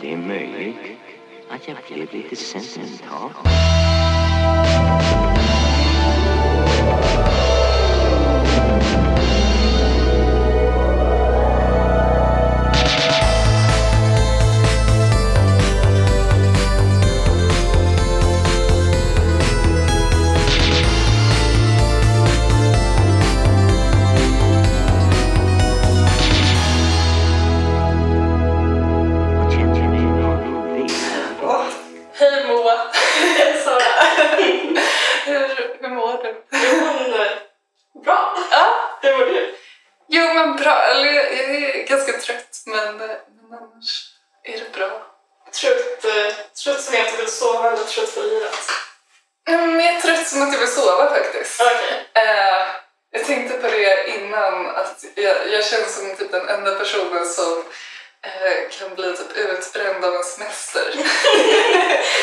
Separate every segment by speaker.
Speaker 1: Det är möjligt att jag blev lite sentimental. Och känner mig någon viss.
Speaker 2: Åh, Hej Moa! Sara! hur, hur mår du?
Speaker 3: Jo, men eh, bra.
Speaker 2: Ja,
Speaker 3: Det var det.
Speaker 2: jo men bra. Eller jag jag är ganska trött men, eh, men annars är det bra.
Speaker 3: Trött, eh, trött som jag inte vill sova eller trött för livet.
Speaker 2: Mm, Jag är trött som att jag vill sova faktiskt.
Speaker 3: Okej.
Speaker 2: Eh, jag tänkte på det innan att jag, jag känns som typ den enda personen som eh, kan bli typ utbränd av en semester.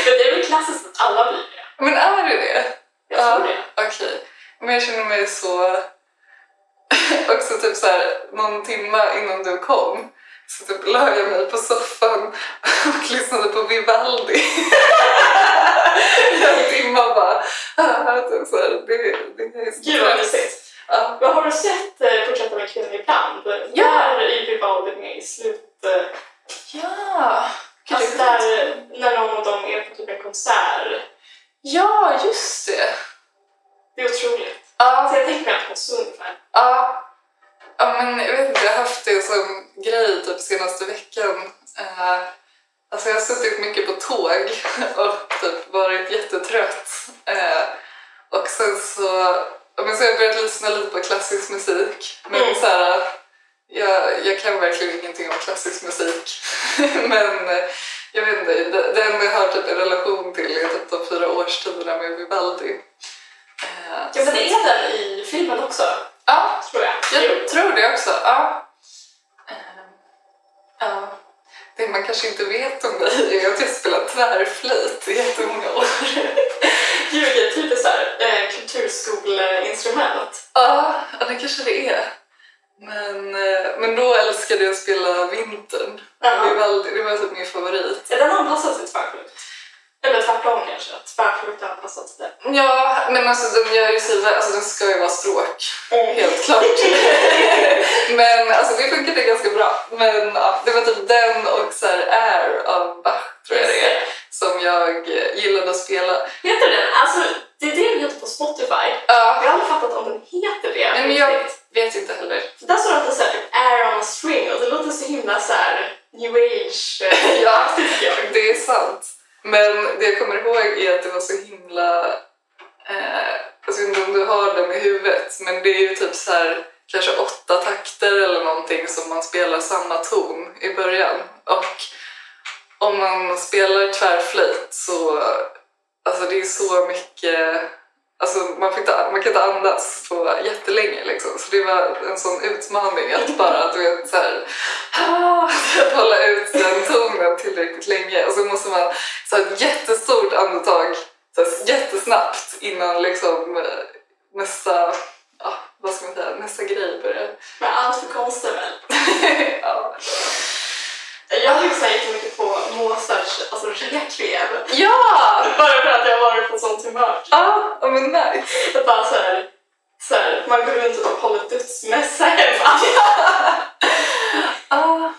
Speaker 3: Men det är väl klassiskt att alla blir det.
Speaker 2: Men är det det?
Speaker 3: Jag
Speaker 2: Ja.
Speaker 3: tror det.
Speaker 2: Okej, men jag känner mig så... också typ så här, någon timme innan du kom så typ la jag mig på soffan och lyssnade på Vivaldi. en timme och bara... "Ah, typ så här, det, det här är så
Speaker 3: Gud vad
Speaker 2: trist."
Speaker 3: mysigt.
Speaker 2: Ja.
Speaker 3: Men har du sett eh, Porträtt av en kvinna ibland?
Speaker 2: Ja.
Speaker 3: Där är Vivaldi med i slut... Eh,
Speaker 2: Ja. Gud,
Speaker 3: alltså
Speaker 2: det är
Speaker 3: där, eh, när någon av dem är på typ en konsert.
Speaker 2: Ja, just det.
Speaker 3: Det är otroligt.
Speaker 2: Ja,
Speaker 3: Alltså jag tänker mig att hon sjöng ungefär.
Speaker 2: ja. ja men jag vet inte, jag har haft det som grej typ senaste veckan. Eh, Alltså jag har suttit mycket på tåg och typ varit jättetrött. Eh, och sen så, ja, men så har jag börjat lyssna lite på klassisk musik. Men
Speaker 3: Mm.
Speaker 2: så här, jag, jag kan verkligen ingenting om klassisk musik. men eh, jag vet inte, det, det enda jag har typ en relation till är typ de fyra årstiderna med Vivaldi. Eh,
Speaker 3: Ja men det är den i filmen också,
Speaker 2: ja,
Speaker 3: tror jag.
Speaker 2: jag tror det också. Ja. Eh, ja. Det man kanske inte vet om mig är att jag spelat tvärflöjt i jättemånga år.
Speaker 3: Gud vilket typiskt såhär eh, kulturskoleinstrument.
Speaker 2: Ja, ja, det kanske det är. Men, eh, men då älskade jag att spela vintern. Det, var alltid, det var typ min favorit.
Speaker 3: Är den anpassad till tvärflöjt? Eller tvärtom kanske, att tvärflöjt är anpassad till det.
Speaker 2: Ja, men alltså den gör ju sig, vä- alltså den ska ju vara stråk.
Speaker 3: Mm.
Speaker 2: Helt klart. men alltså det funkade ganska bra. Men ja, det var typ den och så här Air av Bach tror jag det är. Som jag eh, gillade att spela.
Speaker 3: Heter den? Alltså, det är det den heter på Spotify.
Speaker 2: Ja,
Speaker 3: Jag har aldrig fattat om den heter det.
Speaker 2: Nej, men jag
Speaker 3: riktigt.
Speaker 2: vet inte heller.
Speaker 3: För där står det att det är så här, typ, air on a string och det låter så himla så här new age eh,
Speaker 2: Ja.
Speaker 3: tycker jag.
Speaker 2: Det är sant. Men det jag kommer ihåg är att det var så himla... Eh, jag vet inte om du har dem i huvudet, men det är ju typ så här kanske åtta takter eller någonting som man spelar samma ton i början. Och om man spelar tvärflöjt så... Alltså det är så mycket... Alltså man, får inte, man kan inte andas på jättelänge liksom. Så det var en sån utmaning att bara, du vet, så här, att hålla ut den tonen tillräckligt länge. Och så måste man så här, ett jättestort andetag så här, jättesnabbt innan liksom eh, nästa, ja, vad ska man säga, nästa grej börjar.
Speaker 3: Men allt för konstigt väl.
Speaker 2: ja.
Speaker 3: Jag lyssnar jättemycket på Mozarts alltså, Requiem.
Speaker 2: Ja!
Speaker 3: Bara för att jag har varit på sånt humör.
Speaker 2: Ja, ja, men nice.
Speaker 3: Det bara så här, så här, man går runt och typ håller dödsmässa hemma.
Speaker 2: Ja.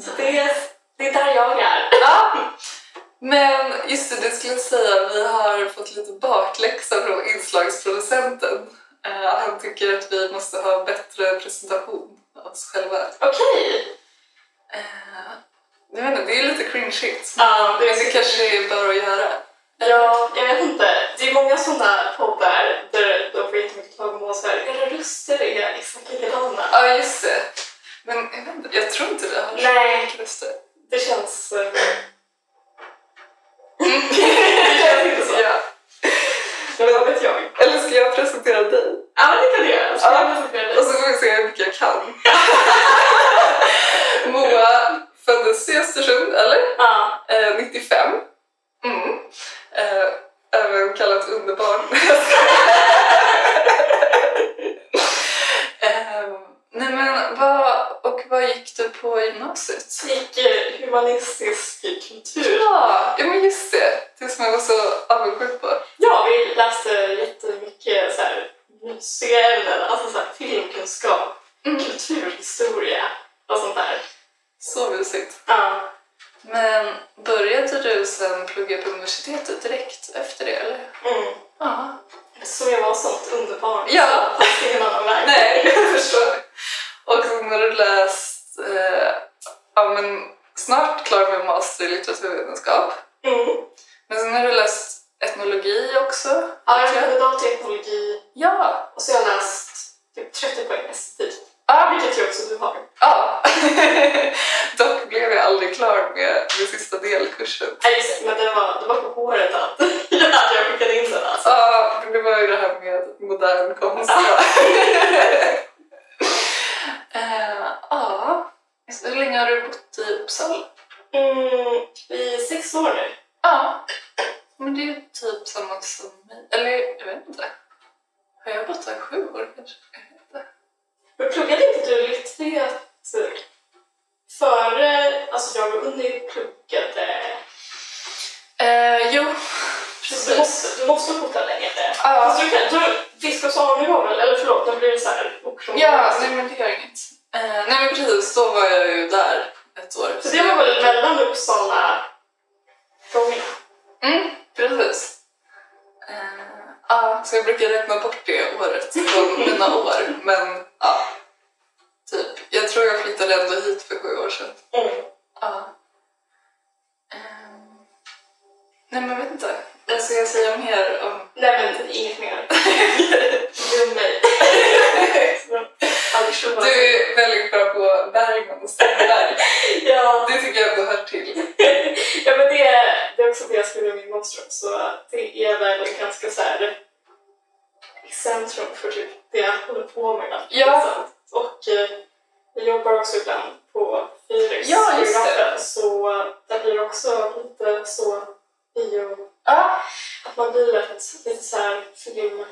Speaker 3: Så det är, det är där jag är.
Speaker 2: Ja. Men just det, det skulle jag säga, vi har fått lite bakläxa från inslagsproducenten. Eh, han tycker att vi måste ha bättre presentation av oss själva.
Speaker 3: Okej.
Speaker 2: Eh, jag vet inte, det är lite cringeigt.
Speaker 3: Ja,
Speaker 2: Men det kanske är bara att göra.
Speaker 3: Ja, jag vet inte. Det är många sådana poddar där de får jättemycket klagomål så här. Era röster är exakt likadana.
Speaker 2: Ja, just det. Men jag, vet inte, jag tror inte vi har så
Speaker 3: Nej,
Speaker 2: mycket röster.
Speaker 3: det känns... eh, Mm. det känns inte så.
Speaker 2: Ja.
Speaker 3: Men vad vet jag?
Speaker 2: Eller ska jag presentera dig?
Speaker 3: Ja, men det kan du göra. Ska
Speaker 2: Ja.
Speaker 3: jag presentera dig?
Speaker 2: Och så får vi se hur mycket jag kan. Moa föddes i Östersund, eller?
Speaker 3: Ja.
Speaker 2: Eh, 95. Mm. Eh, även kallat underbarn. eh, nej men vad, och vad gick du på gymnasiet?
Speaker 3: Gick eh, humaniora humanistisk kultur.
Speaker 2: Ja, ja, men just det. Det som jag var så avundsjuk på.
Speaker 3: Ja, vi läste jättemycket så här, museer, alltså så här, filmkunskap, kulturhistoria och sånt där.
Speaker 2: Så mysigt.
Speaker 3: Ja.
Speaker 2: Men började du sen plugga på universitetet direkt efter det, eller?
Speaker 3: Mm.
Speaker 2: Ja.
Speaker 3: Så jag var sånt underbarn.
Speaker 2: Ja.
Speaker 3: så fanns det ingen annan väg.
Speaker 2: Nej, jag förstår. Och sen har du läst, eh, ja men snart klar med master i litteraturvetenskap.
Speaker 3: Mm.
Speaker 2: Men sen har du läst etnologi också.
Speaker 3: Ja, jag har kandidat i etnologi
Speaker 2: Ja!
Speaker 3: och så har jag läst typ 30 poäng estetik,
Speaker 2: Ah,
Speaker 3: vilket jag också du har.
Speaker 2: ja. Dock blev jag aldrig klar med den sista delkursen.
Speaker 3: Nej, just det, men det var, det var på håret att att jag skickade in den alltså.
Speaker 2: Ja, för det var ju det här med modern konst. Eh, Ja. Så Hur länge har du bott i Uppsala?
Speaker 3: Mm, I sex år nu.
Speaker 2: Ja. Men det är ju typ samma som mig. Eller jag vet inte. Har jag bott här sju år kanske? Jag vet inte.
Speaker 3: Men pluggade inte du litteratur före, alltså jag och Unni pluggade
Speaker 2: Eh, jo,
Speaker 3: Du
Speaker 2: precis.
Speaker 3: måste, du måste fota längre ner.
Speaker 2: Ja.
Speaker 3: Fast du kan, du, biskops Arne var väl, eller förlåt, nu blir det såhär okrångligt.
Speaker 2: Ja, nej men det gör inget. Eh, nej men precis, då var jag ju där ett år.
Speaker 3: Så det var väl mellan Uppsala gångerna?
Speaker 2: Mm, precis. Eh, Ja, så jag brukar räkna bort det året från mina år. Men ja, typ. Jag tror jag flyttade ändå hit för sju år sedan.
Speaker 3: Mm.
Speaker 2: Ja. Ehm, nej men jag vet inte. Vad ska jag säga mer om...
Speaker 3: Nej men inget mer. Glöm mig. Aldrig tro att-
Speaker 2: Du är väldigt bra på Bergman och Strindberg.
Speaker 3: Ja,
Speaker 2: Det tycker jag ändå hör till.
Speaker 3: ja men det, det är också det jag skriver i min monstrum så det är väl ganska såhär i centrum för typ det jag håller på med.
Speaker 2: Ja.
Speaker 3: liksom. Och eh, jag jobbar också ibland på Fyris
Speaker 2: Ja, just det.
Speaker 3: biografen, så där blir det också lite så bio
Speaker 2: Ja,
Speaker 3: att man blir ett, lite såhär film...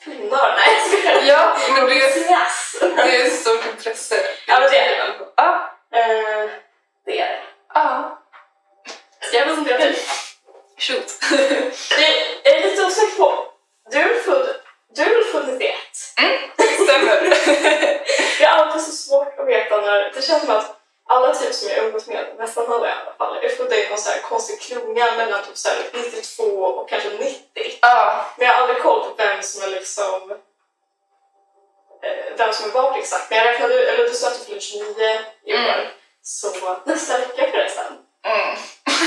Speaker 3: Filmnörd? Nej, jag skojar. Eh,
Speaker 2: ja men det är,
Speaker 3: Entusiast!
Speaker 2: det är ett stort intresse.
Speaker 3: Ja, men det är det.
Speaker 2: Ja,
Speaker 3: Eh, Det är det.
Speaker 2: ja.
Speaker 3: Så Jag vet inte, jag typ
Speaker 2: Shoot.
Speaker 3: Det- Jag är lite osäker på. Du är väl född, du är väl född 91?
Speaker 2: Mm. Stämmer.
Speaker 3: Det är alltid så svårt att veta när... Det känns som att alla typ som jag umgås med, nästan alla i alla fall, är födda i någon så här konstig klunga mellan typ så här 92 och kanske 90.
Speaker 2: Ja,
Speaker 3: Men jag har aldrig koll på vem som är liksom... eh, Vem som är vart exakt. Men jag räknade ut, eller du sa att du fyller 29 i år.
Speaker 2: Mm.
Speaker 3: Så nästa vecka förresten.
Speaker 2: Mm.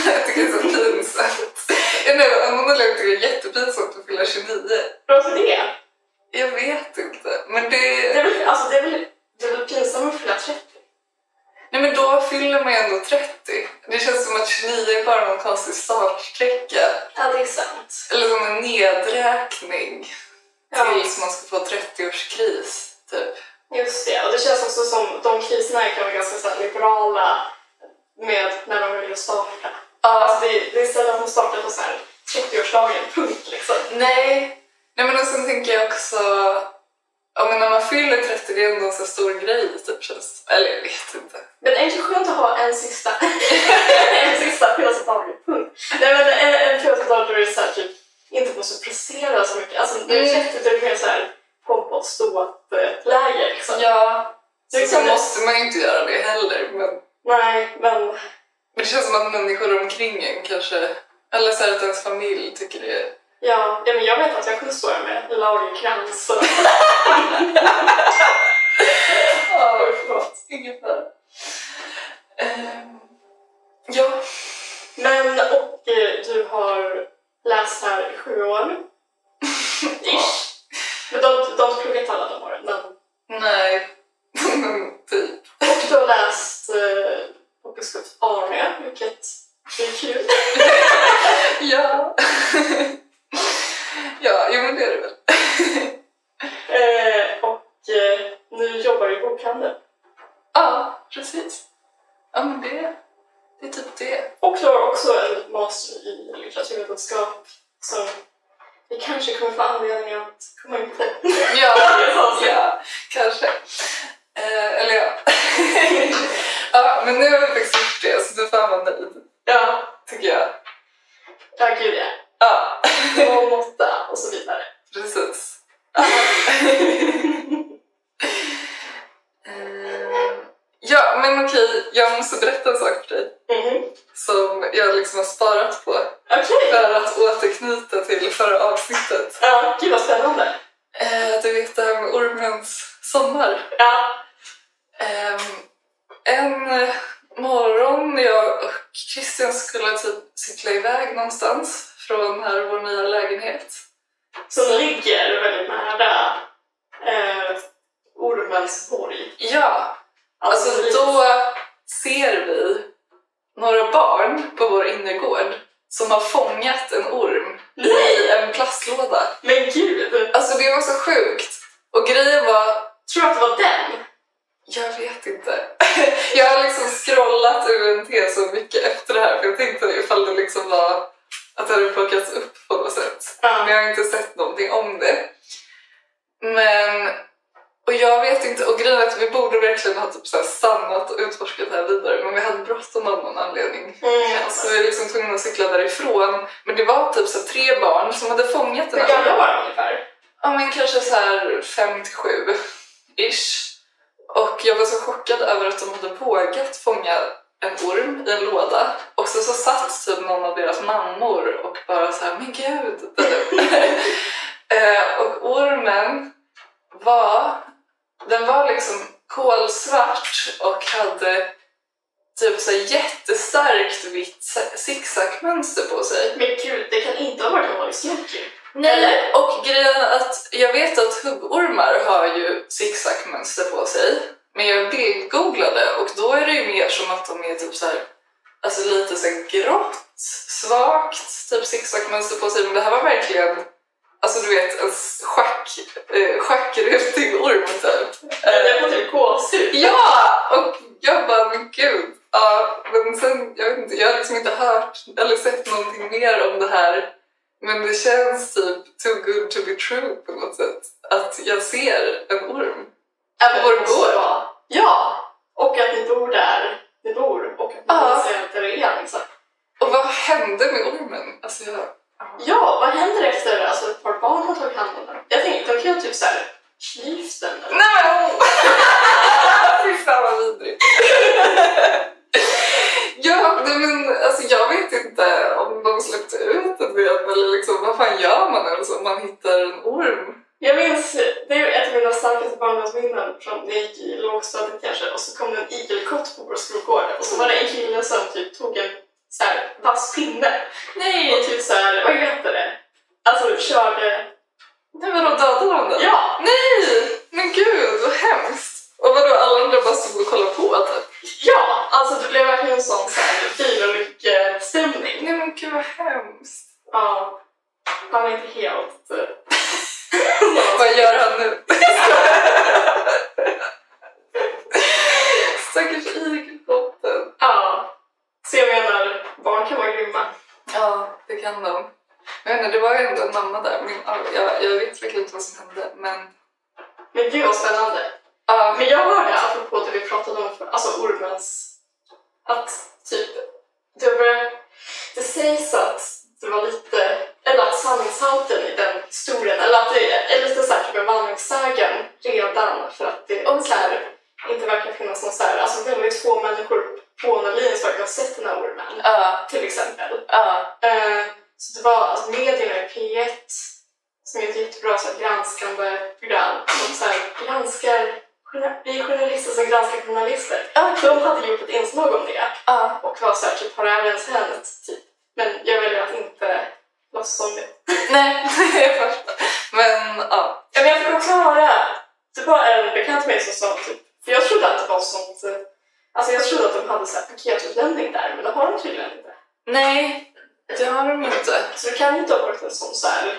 Speaker 2: Jag tycker det är så pinsamt. Jag menar, av någon anledning tycker jag det är jättepinsamt att fylla 29.
Speaker 3: Varför det?
Speaker 2: Jag vet inte. Men
Speaker 3: Det
Speaker 2: det...
Speaker 3: är väl, alltså, det är väl, det är väl pinsamt att fylla 30?
Speaker 2: Nej men då fyller man ju ändå 30. Det känns som att 29 är bara någon konstig startsträcka.
Speaker 3: Ja, det är sant.
Speaker 2: Eller som en nedräkning
Speaker 3: Ja.
Speaker 2: tills man ska få 30-årskris, typ.
Speaker 3: Just det, och det känns också som de kriserna kan vara ganska så här liberala med när de vill starta.
Speaker 2: Ja.
Speaker 3: Alltså det, är- det är sällan de startar på så här 30-årsdagen, punkt liksom.
Speaker 2: Nej. Nej men och sen tänker jag också... Ja men när man fyller 30 det är ändå en så stor grej, typ känns Eller jag vet inte.
Speaker 3: Men är det inte skönt att ha en sista, en sista födelsedag, punkt? Nej men en, en födelsedag då är det så här typ, inte måste prestera så mycket. Alltså när du är
Speaker 2: Mm.
Speaker 3: 30 då är det mer så här pompa och ståt-läger liksom.
Speaker 2: Ja.
Speaker 3: Det
Speaker 2: Så, så
Speaker 3: kan-
Speaker 2: måste man ju inte göra det heller, men...
Speaker 3: Nej, men
Speaker 2: Men det känns som att människor omkring en kanske, eller så här att ens familj tycker det är...
Speaker 3: ja, ja men jag vet att jag kunde stå här med lagerkrans och...
Speaker 2: Ja,
Speaker 3: Oj, förlåt.
Speaker 2: ungefär. Ehm, ja.
Speaker 3: Men och eh, du har läst här i sju år. Ish. Men du har inte- du har inte pluggat alla de åren. Men,
Speaker 2: Nej. Men typ.
Speaker 3: och du har läst eh, på biskops Arne, vilket är kul.
Speaker 2: Ja. ja, jo men det är det väl.
Speaker 3: Eh, och eh, nu jobbar du i bokhandeln.
Speaker 2: Ja, precis. Ja men det, det är typ det.
Speaker 3: Och du har också en master i litteraturvetenskap som vi kanske kommer få anledning att komma in på.
Speaker 2: Ja, ja kanske. Eh, eller ja. ja, men nu har vi faktiskt använda i,
Speaker 3: Ja,
Speaker 2: tycker jag.
Speaker 3: ja gud ja.
Speaker 2: Ja,
Speaker 3: Och måtta och så vidare. Mhm.
Speaker 2: precis. Eh, ja, men okej, jag måste berätta en sak för dig
Speaker 3: Mhm.
Speaker 2: som jag liksom har sparat på
Speaker 3: Okej.
Speaker 2: för att återknyta till förra avsnittet.
Speaker 3: Ja, gud vad spännande.
Speaker 2: Eh, du vet det här med ormens sommar.
Speaker 3: Ja.
Speaker 2: Ehm, en eh, morgon när jag och Christian skulle typ cykla iväg någonstans från här vår nya lägenhet.
Speaker 3: Så den ligger väldigt nära eh, ormens borg.
Speaker 2: Ja, alltså då ser vi några barn på vår innergård som har fångat en orm i
Speaker 3: Nej!
Speaker 2: en plastlåda.
Speaker 3: Men gud!
Speaker 2: Alltså det var så sjukt. Och grejen var,
Speaker 3: Tror du att det var den?
Speaker 2: Jag vet inte. Jag har liksom scrollat UNT så mycket efter det här för jag tänkte ifall det liksom var att det hade plockats upp på något sätt. Men
Speaker 3: Ja.
Speaker 2: jag har inte sett någonting om det. Men... Och jag vet inte, och grejen är att vi borde verkligen ha typ så här stannat och utforskat det här vidare men vi hade bråttom av någon anledning.
Speaker 3: Mm.
Speaker 2: Så vi är liksom tvungna att cykla därifrån. Men det var typ så här tre barn som hade fångat den
Speaker 3: Hur
Speaker 2: här
Speaker 3: gamla var de ungefär?
Speaker 2: Ja men kanske så här 57 ish. Och jag var så chockad över att de hade vågat fånga en orm i en låda. Och så, så satt typ någon av deras mammor och bara så här, men gud! Eh, och ormen var, den var liksom kolsvart och hade typ så här jättestarkt vitt zigzagmönster på sig.
Speaker 3: Men gud, det kan inte ha varit en typ. vanlig snorkel.
Speaker 2: Nej, och grejen är att jag vet att huggormar har ju zigzagmönster på sig. Men jag bildgooglade och då är det ju mer som att de är typ så här, alltså lite så här grått, svagt, typ zigzagmönster på sig. Men det här var verkligen, alltså du vet, en s- schack, eh, schackrutig orm typ.
Speaker 3: Jag får typ gåshud.
Speaker 2: Ja! Och jag bara, men gud. Ja, men sen, jag, vet inte, jag har liksom inte hört eller sett någonting mer om det här. Men det känns typ too good to be true på något sätt. Att jag ser en orm.
Speaker 3: Ja, men
Speaker 2: Vår
Speaker 3: det måste
Speaker 2: gård.
Speaker 3: vara. Ja! Och att ni bor där ni bor och att ni
Speaker 2: Ja.
Speaker 3: ser att det är liksom.
Speaker 2: Och vad hände med ormen? Alltså jag...
Speaker 3: Ja, vad händer efter alltså, ett par barn har tagit hand om den? Jag tänkte, de kan ju typ såhär klyvt den eller?
Speaker 2: Nej men oh! Fy fan vad vidrigt. ja, nej, men alltså jag vet inte om de släppte ut den igen eller liksom vad fan gör man ens om man hittar en orm?
Speaker 3: Jag minns, det är ett av mina starkaste barndomsminnen från när jag gick i lågstadiet kanske och så kom det en igelkott på vår skolgård och så var det en kille som typ tog en så här vass pinne
Speaker 2: Nej!
Speaker 3: och typ så här, vad heter det? Alltså körde,
Speaker 2: Nej vadå, dödade han den?
Speaker 3: ja!
Speaker 2: Nej! Men gud, vad hemskt! Och vadå, alla andra bara stod och kollade på typ?
Speaker 3: Ja! Alltså det blev verkligen en sån så här bilolyckestämning.
Speaker 2: Nej men gud vad hemskt!
Speaker 3: Ja. Han var inte helt... eh,
Speaker 2: Vad gör han nu? Stackars igelkotten.
Speaker 3: Ja. Så jag menar, barn kan vara grymma.
Speaker 2: Ja, det kan de. Men jag menar, det var ju ändå en mamma där. Min, jag, jag vet verkligen inte vad som hände, men...
Speaker 3: Men gud vad spännande.
Speaker 2: Ja,
Speaker 3: Men jag hörde, apropå det vi pratade om, för, alltså ormens... Att typ... Det, var, det sägs att det var lite... Eller att sanningshalten i den historien, eller att det är lite såhär typ en vandringssägen redan för att det
Speaker 2: Okej.
Speaker 3: så här, inte verkar finnas någon såhär... Alltså väldigt få människor på Norrlinjen som verkar ha sett den här ormen,
Speaker 2: ja,
Speaker 3: till exempel.
Speaker 2: ja.
Speaker 3: Eh, så det var alltså, medierna i P1 som är ett jättebra så här, granskande program. De så här, granskar, journa- vi är journalister som granskar journalister. De hade gjort ett inslag om det
Speaker 2: Ja,
Speaker 3: och var så här, typ, har det här ens hänt? Typ. Men jag väljer att inte låtsas om det.
Speaker 2: nej, jag fattar. Men ja,
Speaker 3: Ja, men jag fick också höra, det var en bekant med mig som sa typ, för jag trodde att det var sånt, eh, alltså jag trodde att de hade så här, paketutlämning där, men det har de tydligen inte.
Speaker 2: nej, det har de inte.
Speaker 3: Så det Alltså, kan ju inte ha varit en sån så här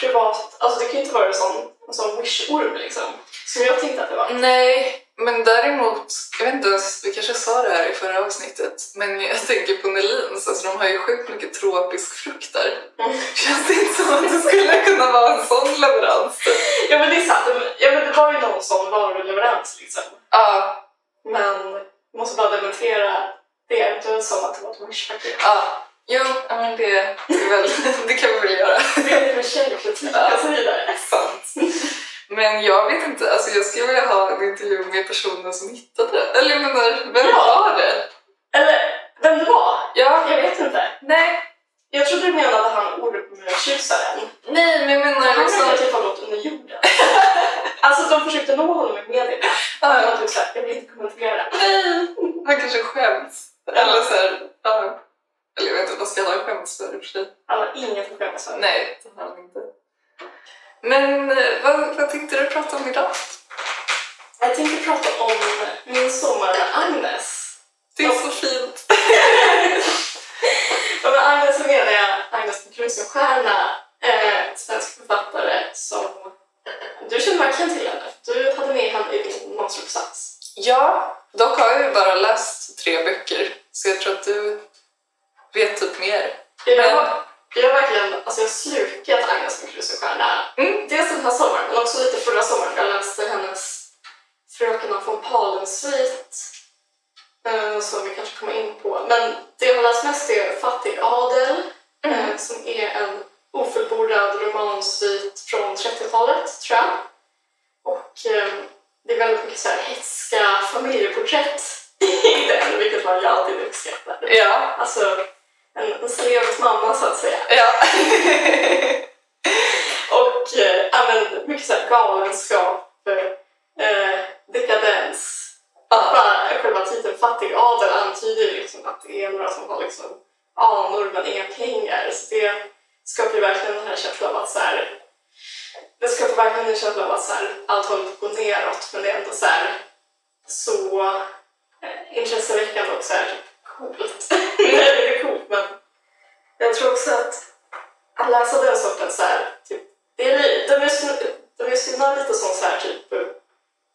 Speaker 3: privat... Alltså det kan ju inte vara en sån, en sån wish-orm liksom. Som jag tänkte att det var.
Speaker 2: Nej, men däremot, jag vet inte ens, vi kanske sa det här i förra avsnittet, men jag tänker på Nelins, alltså de har ju sjukt mycket tropisk frukt där.
Speaker 3: Mm.
Speaker 2: Känns det inte som att det skulle kunna vara en sån leverans?
Speaker 3: Ja men det är sant. Det- Ja, men det var ju någon sån varuleverans liksom.
Speaker 2: Ja,
Speaker 3: Men jag måste bara dementera det. ut som att det var ett wish-paket.
Speaker 2: Ja, jo, ja, men det, det, är väl, det kan vi väl göra.
Speaker 3: Det är med källkritik och så vidare.
Speaker 2: Sant. Men jag vet inte, alltså jag skulle vilja ha en intervju med personen som hittade det. Eller jag menar, vem
Speaker 3: Ja.
Speaker 2: var det?
Speaker 3: Eller vem det var?
Speaker 2: Ja,
Speaker 3: Jag vet inte.
Speaker 2: nej.
Speaker 3: Jag trodde du menade han ormtjusaren.
Speaker 2: Nej, men jag menar
Speaker 3: Han verkar
Speaker 2: liksom...
Speaker 3: typ ha gått under jorden. alltså de försökte nå honom i media. Men
Speaker 2: Ja,
Speaker 3: han typ såhär, jag vill inte kommentera.
Speaker 2: nej! Han kanske skäms. Eller såhär, ja. Eller jag vet inte, vad ska han skäms för i och för sig?
Speaker 3: Han har inget att skämmas för.
Speaker 2: Nej, det har han inte. Men eh, vad, vad tänkte du prata om idag?
Speaker 3: Jag tänkte prata om min sommar med Agnes.
Speaker 2: Det är så fint.
Speaker 3: Och med Agnes så menar jag Agnes Rosenstierna, eh, svensk författare som... Du känner verkligen till henne. Du hade med henne i din masteruppsats.
Speaker 2: Ja, dock har jag ju bara läst tre böcker. Så jag tror att du vet typ mer.
Speaker 3: Jag, jag har verkligen alltså jag har slukat Agnes Rosenstierna.
Speaker 2: Mm.
Speaker 3: Dels den här sommaren, men också lite förra sommaren. Jag läste hennes Frökena från Palensvit eh, som vi kanske kommer in på. Men det jag har läst mest är Fattig adel eh, som är en ofullbordad romansvit från 30-talet, tror jag. Och eh, det är väldigt mycket så här hetska familjeporträtt i den, vilket man ju alltid uppskattar.
Speaker 2: Ja.
Speaker 3: Alltså, en, en celebs mamma så att säga.
Speaker 2: Ja.
Speaker 3: Och eh, ja, men mycket så här galenskap, eh, dekadens.
Speaker 2: Ja.
Speaker 3: Bara själva titeln Fattig adel antyder ju liksom att det är några som har liksom anor men inga pengar. Så det skapar ju verkligen den här känslan av att så här, det skapar verkligen en känsla av att så här, allt håller på att gå neråt men det är ändå så här, så eh, intresseväckande och så här coolt. Nej, det är coolt men jag tror också att att läsa alltså, den sortens så här, typ, det är, li- de är, sn- de är skrivna lite som så här typ eh,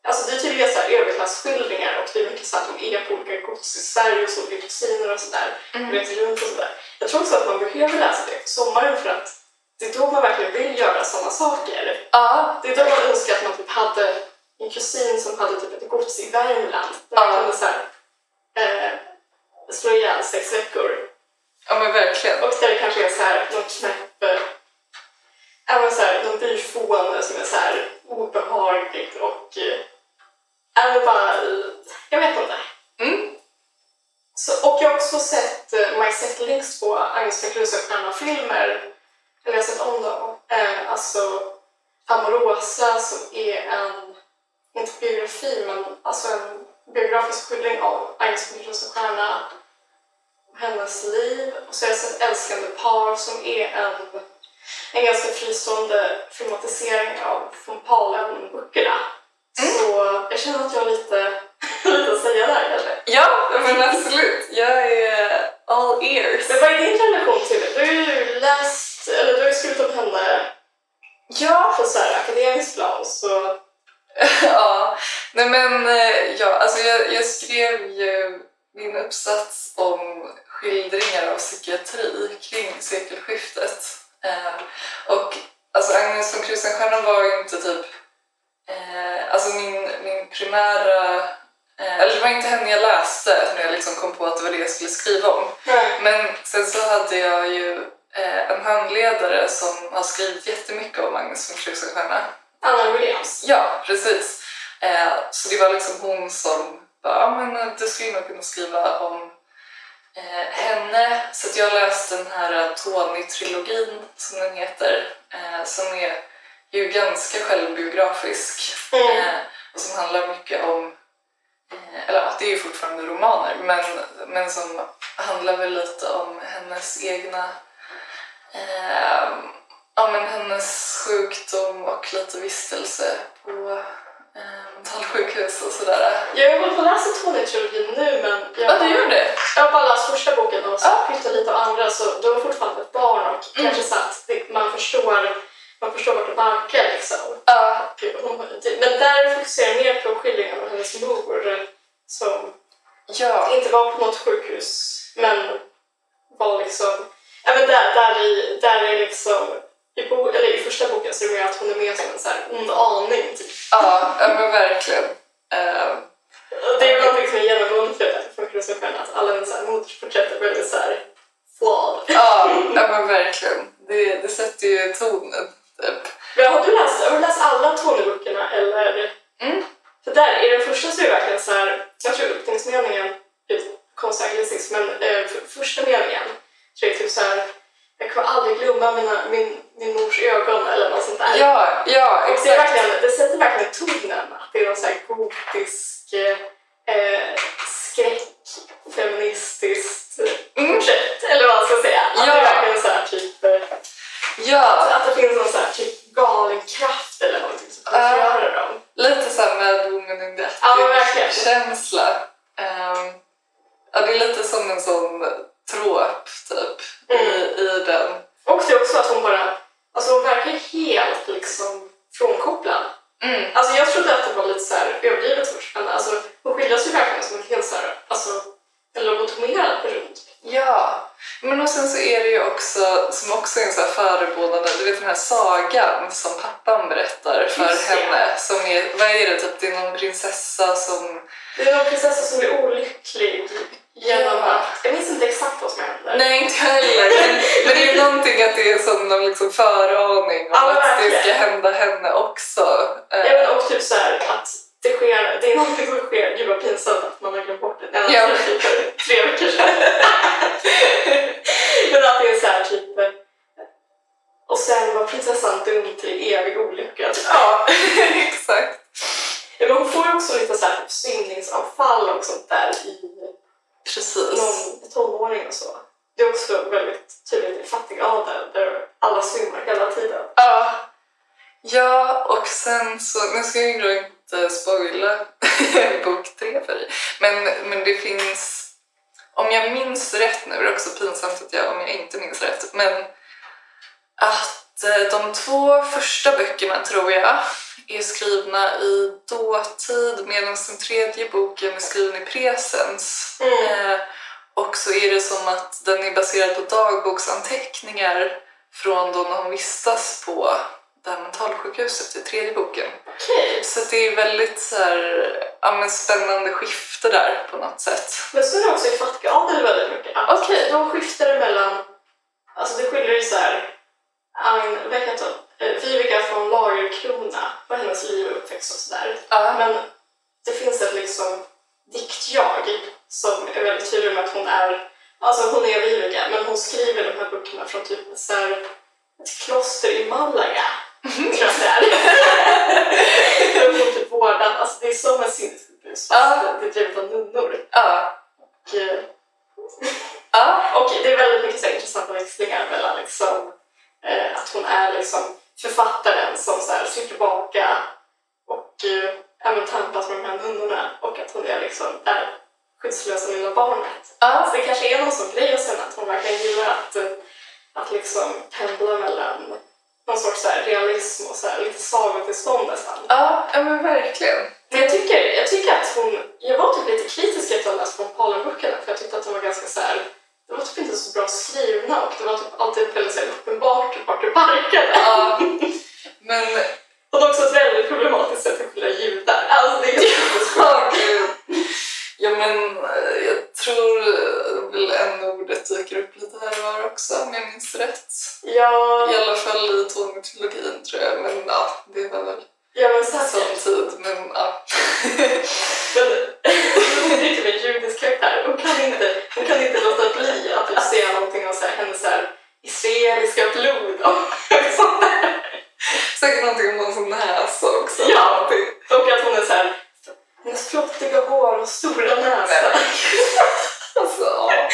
Speaker 3: Alltså det är tydligen så här överklassskildringar och det är mycket så att de är på olika gods i Sverige och så olika kusiner och sådär. Mm. Reser runt och sådär. Jag tror också att man behöver läsa det på sommaren för att det är då man verkligen vill göra sådana saker.
Speaker 2: Ja.
Speaker 3: Det är då man önskar att man typ hade en kusin som hade typ ett gods i Värmland. Där man
Speaker 2: Ja.
Speaker 3: kunde så här, eh, slå ihjäl sex veckor
Speaker 2: Ja men verkligen.
Speaker 3: och där det kanske är så här, någon knäpp, eh, ja, men så här, någon byfåne som är så här obehagligt och eh, ja, men bara, eh, jag vet inte.
Speaker 2: Mm.
Speaker 3: Så, och jag har också sett eh, My Set Links på Agnes von filmer eller jag har sett om dem. Eh, alltså Amorosa som är en, inte biografi, men alltså en biografisk skildring av Agnes von Rosenstierna och hennes liv. Och så har jag sett Älskande par som är en, en ganska fristående filmatisering av von Palen-böckerna. Så jag känner att jag har lite, lite att säga där kanske.
Speaker 2: Ja, men absolut. Jag är all ears.
Speaker 3: Men vad är din relation till det? Du har ju läst, eller du har ju skrivit om henne
Speaker 2: Ja.
Speaker 3: på så här akademiskt plan så...
Speaker 2: ja. Nej men eh, ja, alltså jag, jag skrev ju min uppsats om skildringar av psykiatri kring sekelskiftet. Eh, och alltså Agnes von Krusenstjerna var ju inte typ Eh, alltså min, min primära... Eh, eller det var inte henne jag läste när jag liksom kom på att det var det jag skulle skriva om. Men sen så hade jag ju eh, en handledare som har skrivit jättemycket om Agnes von Krusenstjerna.
Speaker 3: Anna Williams.
Speaker 2: Ja, precis. Eh, så det var liksom hon som bara, ja men eh, du skulle nog kunna skriva om eh, henne. Så att jag läste den här eh, Tony-trilogin som den heter, eh, som är ju ganska självbiografisk.
Speaker 3: Mm.
Speaker 2: Eh, och som handlar mycket om, eh, eller ja, det är ju fortfarande romaner, men, men som handlar väl lite om hennes egna, eh, ja men hennes sjukdom och lite vistelse på eh, mentalsjukhus och sådär.
Speaker 3: Jag håller på att läsa Tony-trilogin nu men jag,
Speaker 2: Ja, du gör det?
Speaker 3: jag har bara läst första boken och så
Speaker 2: Ja.
Speaker 3: pyttelite av andra så då var jag fortfarande ett barn och
Speaker 2: Mm.
Speaker 3: kanske så att det, man förstår man förstår vart det barkar liksom.
Speaker 2: Ja,
Speaker 3: Hon- Men där fokuserar jag mer på skildringen av hennes mor som
Speaker 2: ja.
Speaker 3: inte var på något sjukhus men var liksom... Ja, men där, där, i, där är liksom... I, bo, eller I första boken så är det mer att hon är med som en så här ond aning. Typ.
Speaker 2: Ja, ja men verkligen. Eh,
Speaker 3: Det är väl någonting som är genomgående för, för Kronosmurfen, att alla hennes så här modersporträtt är väldigt såhär flawed.
Speaker 2: Ja, ja men verkligen. Det, det sätter ju tonen. Typ.
Speaker 3: Men har du läst, har du läst alla Tony-böckerna eller?
Speaker 2: Mm.
Speaker 3: För där, i den första så är det verkligen så här, jag tror öppningsmeningen, konstnärligt men eh, för, första meningen tror jag är typ så här, jag kommer aldrig glömma mina, min, min mors ögon eller något sånt där.
Speaker 2: Ja, ja
Speaker 3: Och det, är
Speaker 2: exakt.
Speaker 3: verkligen, det sätter verkligen tonen att det är någon så här gotisk, eh, skräckfeministiskt
Speaker 2: Mm.
Speaker 3: projekt, eller vad man ska säga. Att
Speaker 2: Ja.
Speaker 3: det är verkligen så här typ, eh,
Speaker 2: Ja,
Speaker 3: att det finns någon så här typ galen kraft eller någonting som
Speaker 2: Ja.
Speaker 3: förgörar dem.
Speaker 2: lite såhär Mad Woman in the
Speaker 3: Ja, men verkligen.
Speaker 2: Attic-känsla. Ehm, ja, det är lite som en sån tråp typ
Speaker 3: Mm.
Speaker 2: i, i den.
Speaker 3: Och det är också att hon bara, alltså hon verkar helt liksom frånkopplad.
Speaker 2: Mm.
Speaker 3: Alltså jag trodde att det var lite så här överdrivet först, men alltså hon skildras ju verkligen som en helt så här, alltså en lobotomerad person. typ.
Speaker 2: Ja, men och sen så är det ju också, som också är en sån här förebådande, du vet den här sagan som pappan berättar för
Speaker 3: Just det.
Speaker 2: henne. Som är, vad är det, typ det är någon prinsessa som...
Speaker 3: Det är någon prinsessa som blir olycklig genom
Speaker 2: Ja.
Speaker 3: att... Jag minns inte exakt vad som händer.
Speaker 2: Nej, inte jag heller. Men, men det är ju någonting att det är som någon liksom föraning om
Speaker 3: Ja,
Speaker 2: att det ska
Speaker 3: verkligen.
Speaker 2: hända henne också. Eh,
Speaker 3: Ja, men och typ så här att det sker... Det är någonting som sker. Gud vad pinsamt att man har glömt bort det. Nej,
Speaker 2: Ja.
Speaker 3: ja. typ för tre veckor sedan. men att det är så här typ... eh, Och sen var prinsessan dum till evig olycka. typ.
Speaker 2: Ja, exakt.
Speaker 3: Ja, men hon får ju också lite så här typ svimningsanfall och sånt där i
Speaker 2: Precis.
Speaker 3: någon tonåring och så. Det är också väldigt tydligt i Fattigadel där alla svimmar hela tiden.
Speaker 2: Ja. ja, och sen så... Nu ska jag ju inte spoila bok tre för dig. Men, men det finns... Om jag minns rätt nu, det är också pinsamt att jag, om jag inte minns rätt, men att eh, de två första böckerna tror jag är skrivna i dåtid medan den tredje boken är skriven i presens.
Speaker 3: Mm.
Speaker 2: Eh, och så är det som att den är baserad på dagboksanteckningar från då när hon vistas på det här mentalsjukhuset i tredje boken.
Speaker 3: Okej.
Speaker 2: Så det är väldigt så här, ja, men spännande skifte där på något sätt.
Speaker 3: Men så är det också i Fattiga Adel väldigt mycket. Att
Speaker 2: Okej.
Speaker 3: De skiftar det mellan, alltså det skiljer ju såhär, Agne, vad heter hon? Eh, Vivica från Lagerkrona, vad hennes liv och uppväxt och sådär.
Speaker 2: Ja.
Speaker 3: Men det finns ett liksom dikt-jag som är väldigt tydlig med att hon är, alltså hon är Vivica, men hon skriver de här böckerna från typ så här, ett kloster i Malaga,
Speaker 2: Mhm.
Speaker 3: tror jag det är. Där hon typ vårdar, alltså det är som en sinnessjukhus fast
Speaker 2: Ja.
Speaker 3: det är drivet av nunnor.
Speaker 2: Ja.
Speaker 3: Och, eh,
Speaker 2: Ja.
Speaker 3: Och det är väldigt mycket så här intressanta växlingar mellan liksom, eh, att hon är liksom författaren som så här ser tillbaka och eh, ja, men tampas med de här nunnorna och att hon är liksom där skyddslösa lilla barnet.
Speaker 2: Ja.
Speaker 3: Alltså det kanske är någon sån grej och sen att hon verkligen gillar att, eh, att liksom pendla mellan någon sorts så här realism och så här lite sagotillstånd nästan.
Speaker 2: Ja, ja, men verkligen.
Speaker 3: Men jag tycker, jag tycker att hon... Jag var typ lite kritisk efter att ha läst von Palenböckerna för jag tyckte att de var ganska så här... De var typ inte så bra skrivna och det var typ alltid väldigt så här uppenbart vart det barkade.
Speaker 2: Ja. Men,
Speaker 3: Och det är också ett väldigt problematiskt sätt att skilja judar. Alltså det är jättesvårt.
Speaker 2: åh gud. Ja, men eh, jag tror eh, väl en ordet dyker upp lite här och var också om jag minns rätt.
Speaker 3: Ja,
Speaker 2: I alla fall i Tony-trilogin tror jag, men ja, det var väl
Speaker 3: ja, men så här
Speaker 2: sån tid. Men ja.
Speaker 3: Men hon är typ en judisk karaktär. Hon kan inte, hon kan inte låta bli att typ säga någonting om så här, hennes så här, israeliska blod och sånt där.
Speaker 2: Säkert någonting om någon sån näsa också.
Speaker 3: Ja.
Speaker 2: Det-
Speaker 3: Och att hon är såhär, hennes flottiga hår och stora näsa.
Speaker 2: Alltså, ja.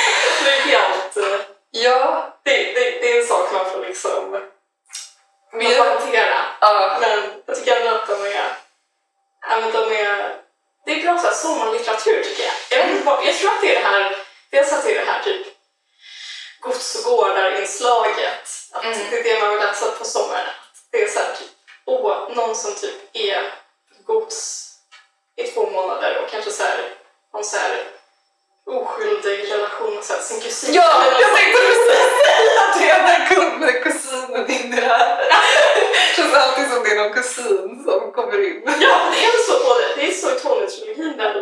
Speaker 3: Det är helt... eh,
Speaker 2: ja,
Speaker 3: Det, det, det är en sak man får liksom man
Speaker 2: men jag,
Speaker 3: får hantera.
Speaker 2: ja,
Speaker 3: Men jag tycker ändå att de är... Ja, men de är det är bra så här, sommarlitteratur tycker jag. Jag, vet inte vad, jag tror att det är det här, dels att det är det här typ gods och gårdar-inslaget. Att
Speaker 2: Mm.
Speaker 3: det är det man vill läsa på sommaren. Att det är så här typ, åh, någon som typ är gods i två månader och kanske så här, någon så här oskyldig relation med så här, sin kusin.
Speaker 2: ja,
Speaker 3: eller något
Speaker 2: jag
Speaker 3: sånt.
Speaker 2: tänkte precis säga att det är när kum- kusinen in i det här. Känns alltid som det är någon kusin som kommer in.
Speaker 3: Ja, det är väl så både. Det är så i Tony-trilogin där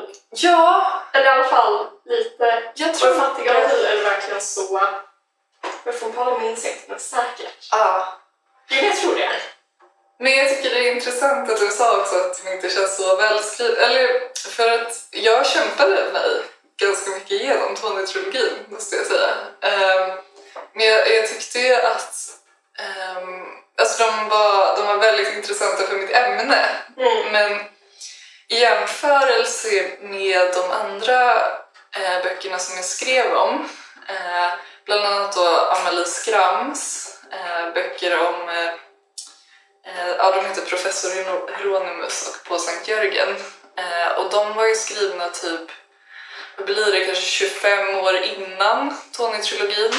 Speaker 3: det verkligen så... Men fortfarande minns jag inte, men säkert.
Speaker 2: Ah.
Speaker 3: Jo, men jag tror det.
Speaker 2: Men jag tycker det är intressant att du sa också att den inte känns så välskriven. Eller för att jag kämpade mig ganska mycket igenom Tony-trilogin, måste jag säga. Ehm, men jag, jag tyckte ju att ehm, alltså de, var, de var väldigt intressanta för mitt ämne.
Speaker 3: Mm.
Speaker 2: Men i jämförelse med de andra eh, böckerna som jag skrev om, eh, bland annat då Amelie Skrams eh, böcker om eh, eh, ja, de heter Professor Hero- Hieronymus och På Sankt Jörgen. Eh, och de var ju skrivna typ, vad blir det, kanske 25 år innan Tony-trilogin.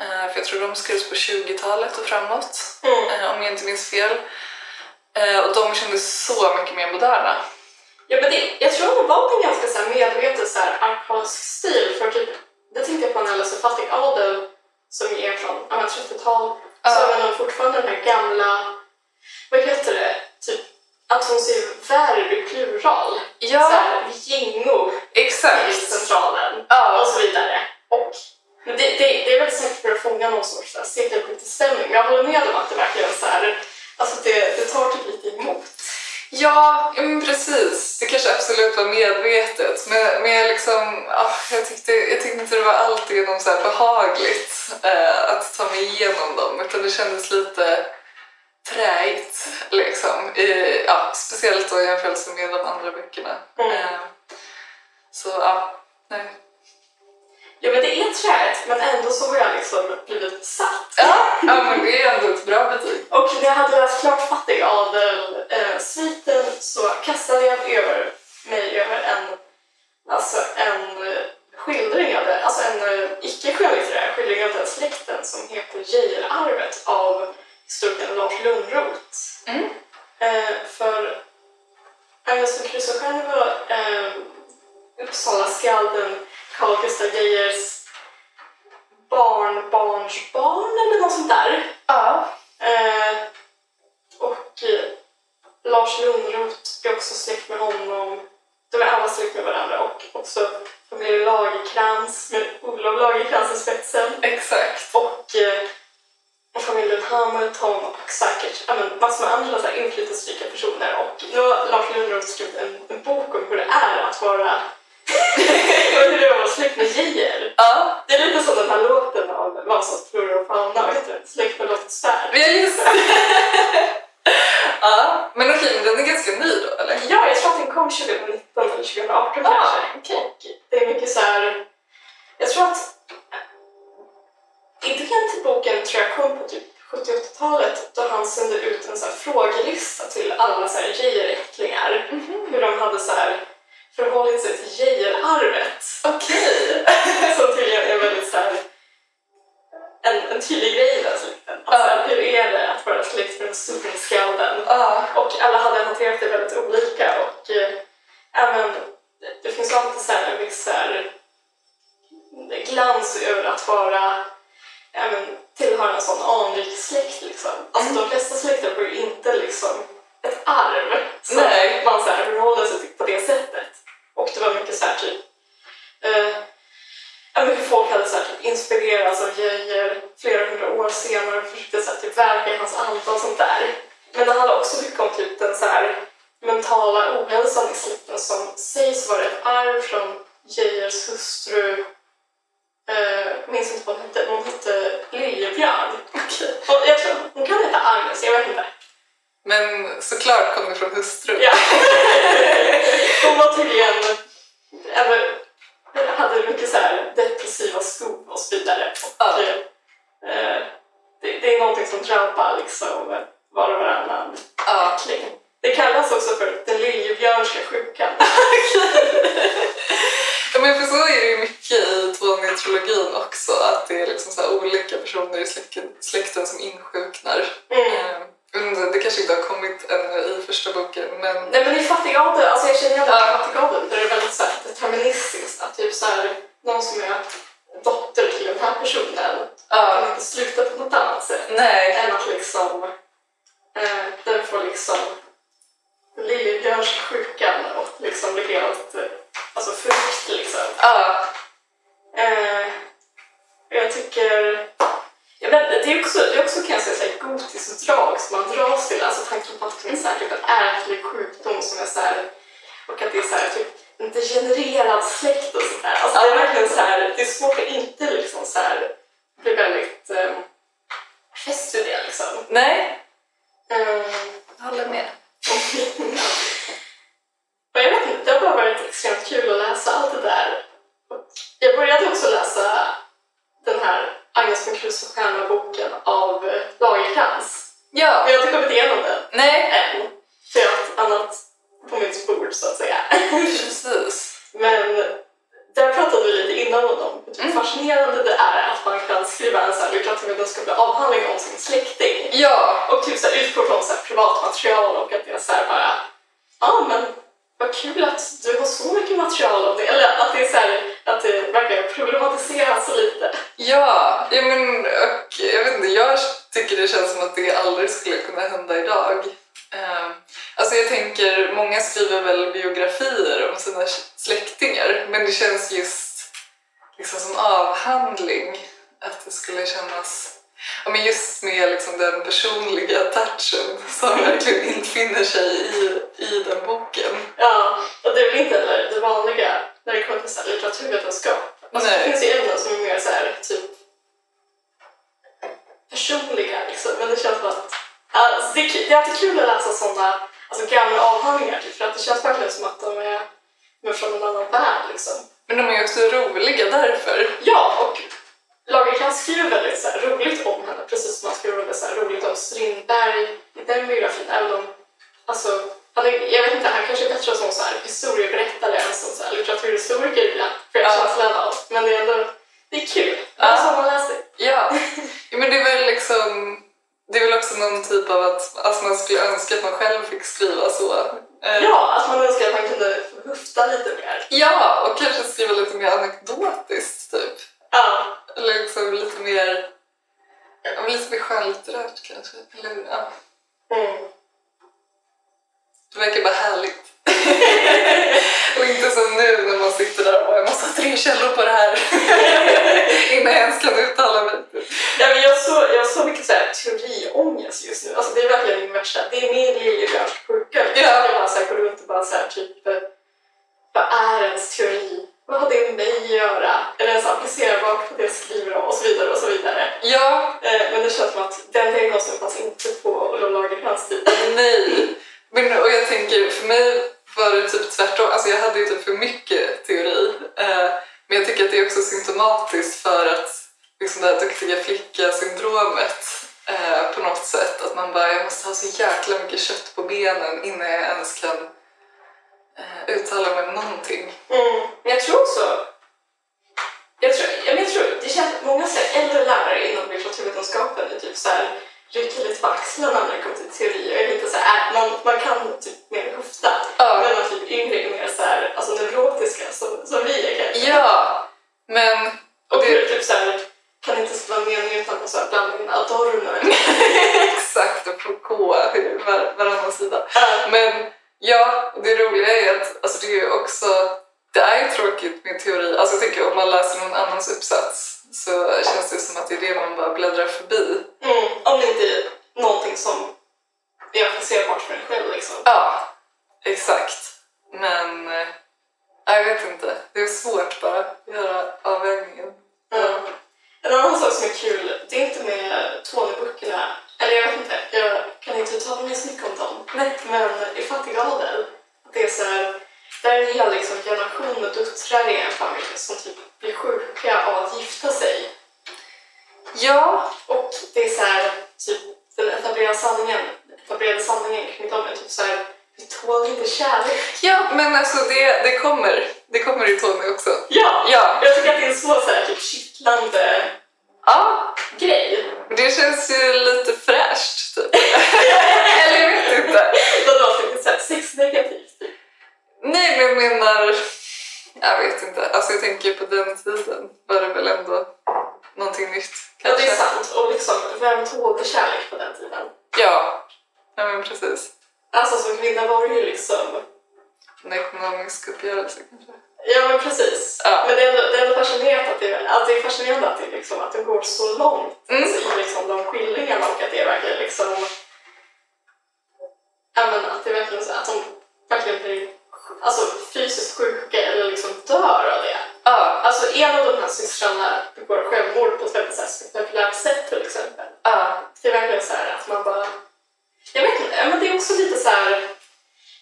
Speaker 2: Eh, för jag tror de skrevs på 20-talet och framåt
Speaker 3: Mm.
Speaker 2: eh, om jag inte minns fel. Eh, och de kändes så mycket mer moderna.
Speaker 3: Ja, men det, jag tror att det var en ganska så här medveten så här, arkadisk stil. För typ, det tänkte jag på när jag läste Fattig Adel som är från ja, men 30-tal. Så
Speaker 2: Ja.
Speaker 3: använder de fortfarande den här gamla, vad heter det, typ att hon ser verb i plural. Så här, gingor i
Speaker 2: exakt.
Speaker 3: centralen och
Speaker 2: Ja,
Speaker 3: så vidare. Och men det, det, det är väl säkert för att fånga någon sorts så här sekelpolitisk stämning. Jag håller med om att det verkligen så här, alltså det, det tar typ lite emot.
Speaker 2: ja men precis. Det kanske absolut var medvetet. Men, men jag, liksom, ja, jag, tyckte, jag tyckte inte det var alltigenom så här behagligt eh, att ta mig igenom dem. Utan det kändes lite träigt. Liksom. I, ja, speciellt då i jämförelse med de andra böckerna.
Speaker 3: Mm.
Speaker 2: Eh, så ja, nej.
Speaker 3: Ja men det är träigt men ändå så har jag liksom blivit besatt.
Speaker 2: Ja, ja, men det är ändå ett bra betyg.
Speaker 3: Och när jag hade läst klart Fattig adel-sviten så kastade jag över mig över en, alltså en eh, skildring av det, alltså en eh, icke-skönlitterär skildring av den släkten som heter Geijerarvet av historikern Lars Lönnroth.
Speaker 2: Mm.
Speaker 3: Eh, för Agnes von Krüsenstjerny var eh, Uppsala-skalden Carl Gustav Geijers barnbarnsbarn eller något sånt där.
Speaker 2: Ja.
Speaker 3: Eh, och eh, Lars Lönnroth är också släkt med honom. De är alla släkt med varandra och också familjen Lagercrantz med Olof Lagercrantz i spetsen.
Speaker 2: Exakt.
Speaker 3: Och, eh, och familjen Hamilton och säkert ja, men, massor med andra så här, inflytelserika personer. Och nu har Lars Lönnroth skrivit en, en bok om hur det är att vara hur det är att vara släkt med Geijer.
Speaker 2: Ja,
Speaker 3: Det är lite som den här låten av Vasas flora och fauna, vad heter den? Släkt med Lottet Svärd.
Speaker 2: vi har just Ja, men okej, men den är ganska ny då, eller?
Speaker 3: Ja, jag tror att den kom 2019 eller 2018
Speaker 2: Ah,
Speaker 3: kanske.
Speaker 2: okej.
Speaker 3: Och det är mycket så här... Jag tror att typ idén till boken tror jag kom på typ 70-80-talet då han sände ut en så här frågelista till alla så här Geijerättlingar.
Speaker 2: Mhm.
Speaker 3: Hur de hade så här förhållit sig till Geijerarvet.
Speaker 2: Okej.
Speaker 3: Som tydligen är väldigt så här, en, en tydlig grej i den släkten. Alltså,
Speaker 2: Ja.
Speaker 3: Hur är det att vara släkt med den stora skalden?
Speaker 2: Ja,
Speaker 3: Och alla hade hanterat det väldigt olika och eh, även, det finns ju alltid så här en viss så här, glans över att vara även, tillhöra en sån anrik släkt. Liksom. Alltså, De flesta släkter får ju inte liksom, ett arv som
Speaker 2: Nej.
Speaker 3: man så här, förhåller sig till på det sättet. Och det var mycket så här typ eh, Ja, men hur folk hade så här, typ, inspirerats av Geijer flera hundra år senare och försökte så här, typ, verka i hans anda och sånt där. Men det handlar också mycket om typ, den så här, mentala ohälsan i släkten som sägs vara ett arv från Geijers hustru, eh, minns inte vad hon hette, men hon hette Liljebjörn.
Speaker 2: okej.
Speaker 3: Och jag tror hon kan heta Agnes, jag vet inte.
Speaker 2: Men såklart kom det från hustrun.
Speaker 3: Ja. Hon var tydligen, eller hade mycket så här depressiva skov och så vidare.
Speaker 2: Ja.
Speaker 3: Och, eh, det, det är någonting som drabbar liksom var och varannan
Speaker 2: Ja.
Speaker 3: ättling. Det kallas också för den liljebjörnska sjukan.
Speaker 2: Ja, men för så är det ju mycket i Tony-trilogin också, att det är liksom så här olika personer i släkten, släkten som insjuknar.
Speaker 3: Mm.
Speaker 2: Eh, men det kanske inte har kommit ännu i första boken, men...
Speaker 3: Nej men i Fattigade, alltså jag känner igen det
Speaker 2: Ja.
Speaker 3: i Fattigade, där det är väldigt så här deterministiskt. Att typ så här, någon som är dotter till den här personen kan
Speaker 2: Ja.
Speaker 3: inte sluta på något annat sätt.
Speaker 2: Nej.
Speaker 3: än att liksom eh, den får liksom liljebjörnska sjukan och liksom blir helt eh, alltså frukt liksom.
Speaker 2: Ja.
Speaker 3: Eh, det är också, det är också kan jag säga, så här, gotiskt drag som man dras till. Alltså tanken på att det är så här, typ en ärftlig sjukdom som är så här, och att det är så här, typ en degenererad släkt och sånt där. Alltså, det är verkligen så här, det är svårt att inte liksom så här, bli väldigt eh, fäst vid det liksom.
Speaker 2: Nej,
Speaker 3: Ehm,
Speaker 2: jag håller med.
Speaker 3: Men jag vet inte, det har bara varit extremt kul att läsa allt det där. Och jag började också läsa den här Agnes von Kruse och stjärna-boken av eh, Lagercrantz.
Speaker 2: Ja,
Speaker 3: Men jag har inte kommit igenom den
Speaker 2: nej,
Speaker 3: än, för jag har haft annat på mitt bord så att säga.
Speaker 2: precis.
Speaker 3: Men där pratade vi lite innan om hur typ
Speaker 2: Mm.
Speaker 3: fascinerande det är att man kan skriva en så här litteraturvetenskaplig avhandling om sin släkting.
Speaker 2: Ja,
Speaker 3: Och typ så här utgår från så här privat material och att det är så här bara ja ah, men vad kul att du har så mycket material om det. Eller att det är så här, att det verkar problematiseras så lite.
Speaker 2: ja, ja men och, jag vet inte, jag tycker det känns som att det aldrig skulle kunna hända idag. Eh, alltså jag tänker, många skriver väl biografier om sina släktingar, men det känns just liksom som avhandling att det skulle kännas Ja, men just med liksom den personliga touchen som verkligen infinner sig i, i den boken.
Speaker 3: Ja, och det är väl inte heller det vanliga när det kommer till så här litteraturvetenskap. Alltså, det
Speaker 2: Nej.
Speaker 3: finns ju ämnen som är mer så här, typ personliga liksom. Men det känns som att alltså, det, är, ki- det är alltid kul att läsa sådana alltså, gamla avhandlingar typ, för att det känns verkligen som att de är, de är från en annan värld liksom.
Speaker 2: Men de är ju också roliga därför.
Speaker 3: Ja, och Lagercrantz skriver väldigt så här, roligt om henne, precis som han skriver väldigt så här, roligt om Strindberg i den biografin. Även om, alltså, han är, jag vet inte, han kanske är bättre som så här, historieberättare än som så här, litteraturhistoriker ibland, för jag
Speaker 2: Ja.
Speaker 3: känslan av. Men det är ändå, det är kul.
Speaker 2: Ja.
Speaker 3: Ja. Sommarläsning.
Speaker 2: Ja. ja, men det är väl liksom... Det är väl också någon typ av att alltså man skulle önska att man själv fick skriva så. Eh,
Speaker 3: Ja, att man önskar att man kunde hufta lite mer.
Speaker 2: ja, och kanske skriva lite mer anekdotiskt typ.
Speaker 3: Ja.
Speaker 2: Eller liksom lite mer... ja, men Lite mer skönlitterärt kanske. Eller, ja.
Speaker 3: Mm.
Speaker 2: Det verkar bara härligt. och inte som nu när man sitter där och bara, jag måste ha tre källor på det här innan jag ens kan uttala mig.
Speaker 3: Ja, men jag har så, jag har så mycket så här, teoriångest just nu. Alltså, det är verkligen min värsta. Det är min lillebjörnssjuka.
Speaker 2: Ja.
Speaker 3: Jag bara så här, går runt och bara så här, typ, eh, vad är ens teori? Vad har det med mig att göra? Är det ens applicerbart på det jag skriver om? Och så vidare och så vidare.
Speaker 2: Ja,
Speaker 3: Eh, men det känns som att den diagnosen fanns inte på Olof Lagercrantz tid.
Speaker 2: Nej. Men, och jag tänker, för mig var det typ tvärtom. Alltså jag hade ju typ för mycket teori. Eh, men jag tycker att det är också symptomatiskt för att liksom det här duktiga flicka-syndromet eh, på något sätt. Att man bara, jag måste ha så jäkla mycket kött på benen innan jag ens kan eh, uttala mig om någonting.
Speaker 3: Mm. Men jag tror också... Jag tror, ja, men jag tror, det känns många så här, äldre lärare inom litteraturvetenskapen är typ så här, rycker lite på axlarna när det kommer till teori. Och är lite så här, äh, man, man kan typ mer höfta.
Speaker 2: Ja.
Speaker 3: Men de typ yngre är mer så här, alltså, neurotiska som, som vi är kanske.
Speaker 2: Ja, men...
Speaker 3: Och
Speaker 2: Och
Speaker 3: det är
Speaker 2: det,
Speaker 3: typ så här, kan inte skriva meningen utan att så här blanda in Adorno.
Speaker 2: exakt, apropå hur var, varannan sida. Men ja, det roliga är att alltså, det är ju också det är ju tråkigt med teori. Alltså jag tänker om man läser någon annans uppsats så känns det som att det är det man bara bläddrar förbi.
Speaker 3: Mm, om det inte är någonting som är applicerbart för en själv liksom.
Speaker 2: Ja, exakt. Men eh, jag vet inte. Det är svårt bara att göra avvägningen.
Speaker 3: Ja. Ehm, En annan sak som är kul, det är inte med Tony-böckerna. Eller jag vet inte, jag kan inte uttala mig så mycket om dem.
Speaker 2: Nej.
Speaker 3: Men i Fattig Adel, det är så här, där är en hel liksom, generation med döttrar i en familj som typ blir sjuka av att gifta sig.
Speaker 2: Ja.
Speaker 3: Och det är så här, typ den etablerade sanningen, den etablerade sanningen kring dem är typ så här, vi tål inte kärlek.
Speaker 2: Ja, men alltså det, det kommer. Det kommer i Tony också.
Speaker 3: Ja!
Speaker 2: Ja.
Speaker 3: Jag tycker att det är en så, så här, typ kittlande
Speaker 2: Ja.
Speaker 3: grej.
Speaker 2: Det känns ju lite fräscht typ. Eller jag vet inte.
Speaker 3: Vadå, alltså, det är så här sexnegativt? typ.
Speaker 2: Nej, men jag menar... Jag vet inte. Alltså jag tänker på den tiden var det väl ändå någonting nytt.
Speaker 3: Ja,
Speaker 2: Kanske.
Speaker 3: det är sant. Och liksom, vem tålde kärlek på den tiden?
Speaker 2: Ja. Ja, men precis.
Speaker 3: Alltså som kvinna var det ju liksom...
Speaker 2: En ekonomisk uppgörelse kanske.
Speaker 3: Ja men precis.
Speaker 2: Ja.
Speaker 3: Men det är ändå, det är ändå fascinerande att det, att det, är fascinerande att det, liksom, att det går så långt
Speaker 2: Mm.
Speaker 3: alltså, i liksom, de skildringarna och att det verkligen liksom... Ja men att det verkligen så att de verkligen blir alltså, fysiskt sjuka eller liksom dör av det.
Speaker 2: Ja,
Speaker 3: Alltså en av de här systrarna begår självmord på ett väldigt så här spektakulärt sätt till exempel.
Speaker 2: ja,
Speaker 3: Det är verkligen så här att man bara... Jag vet inte, men det är också lite så här...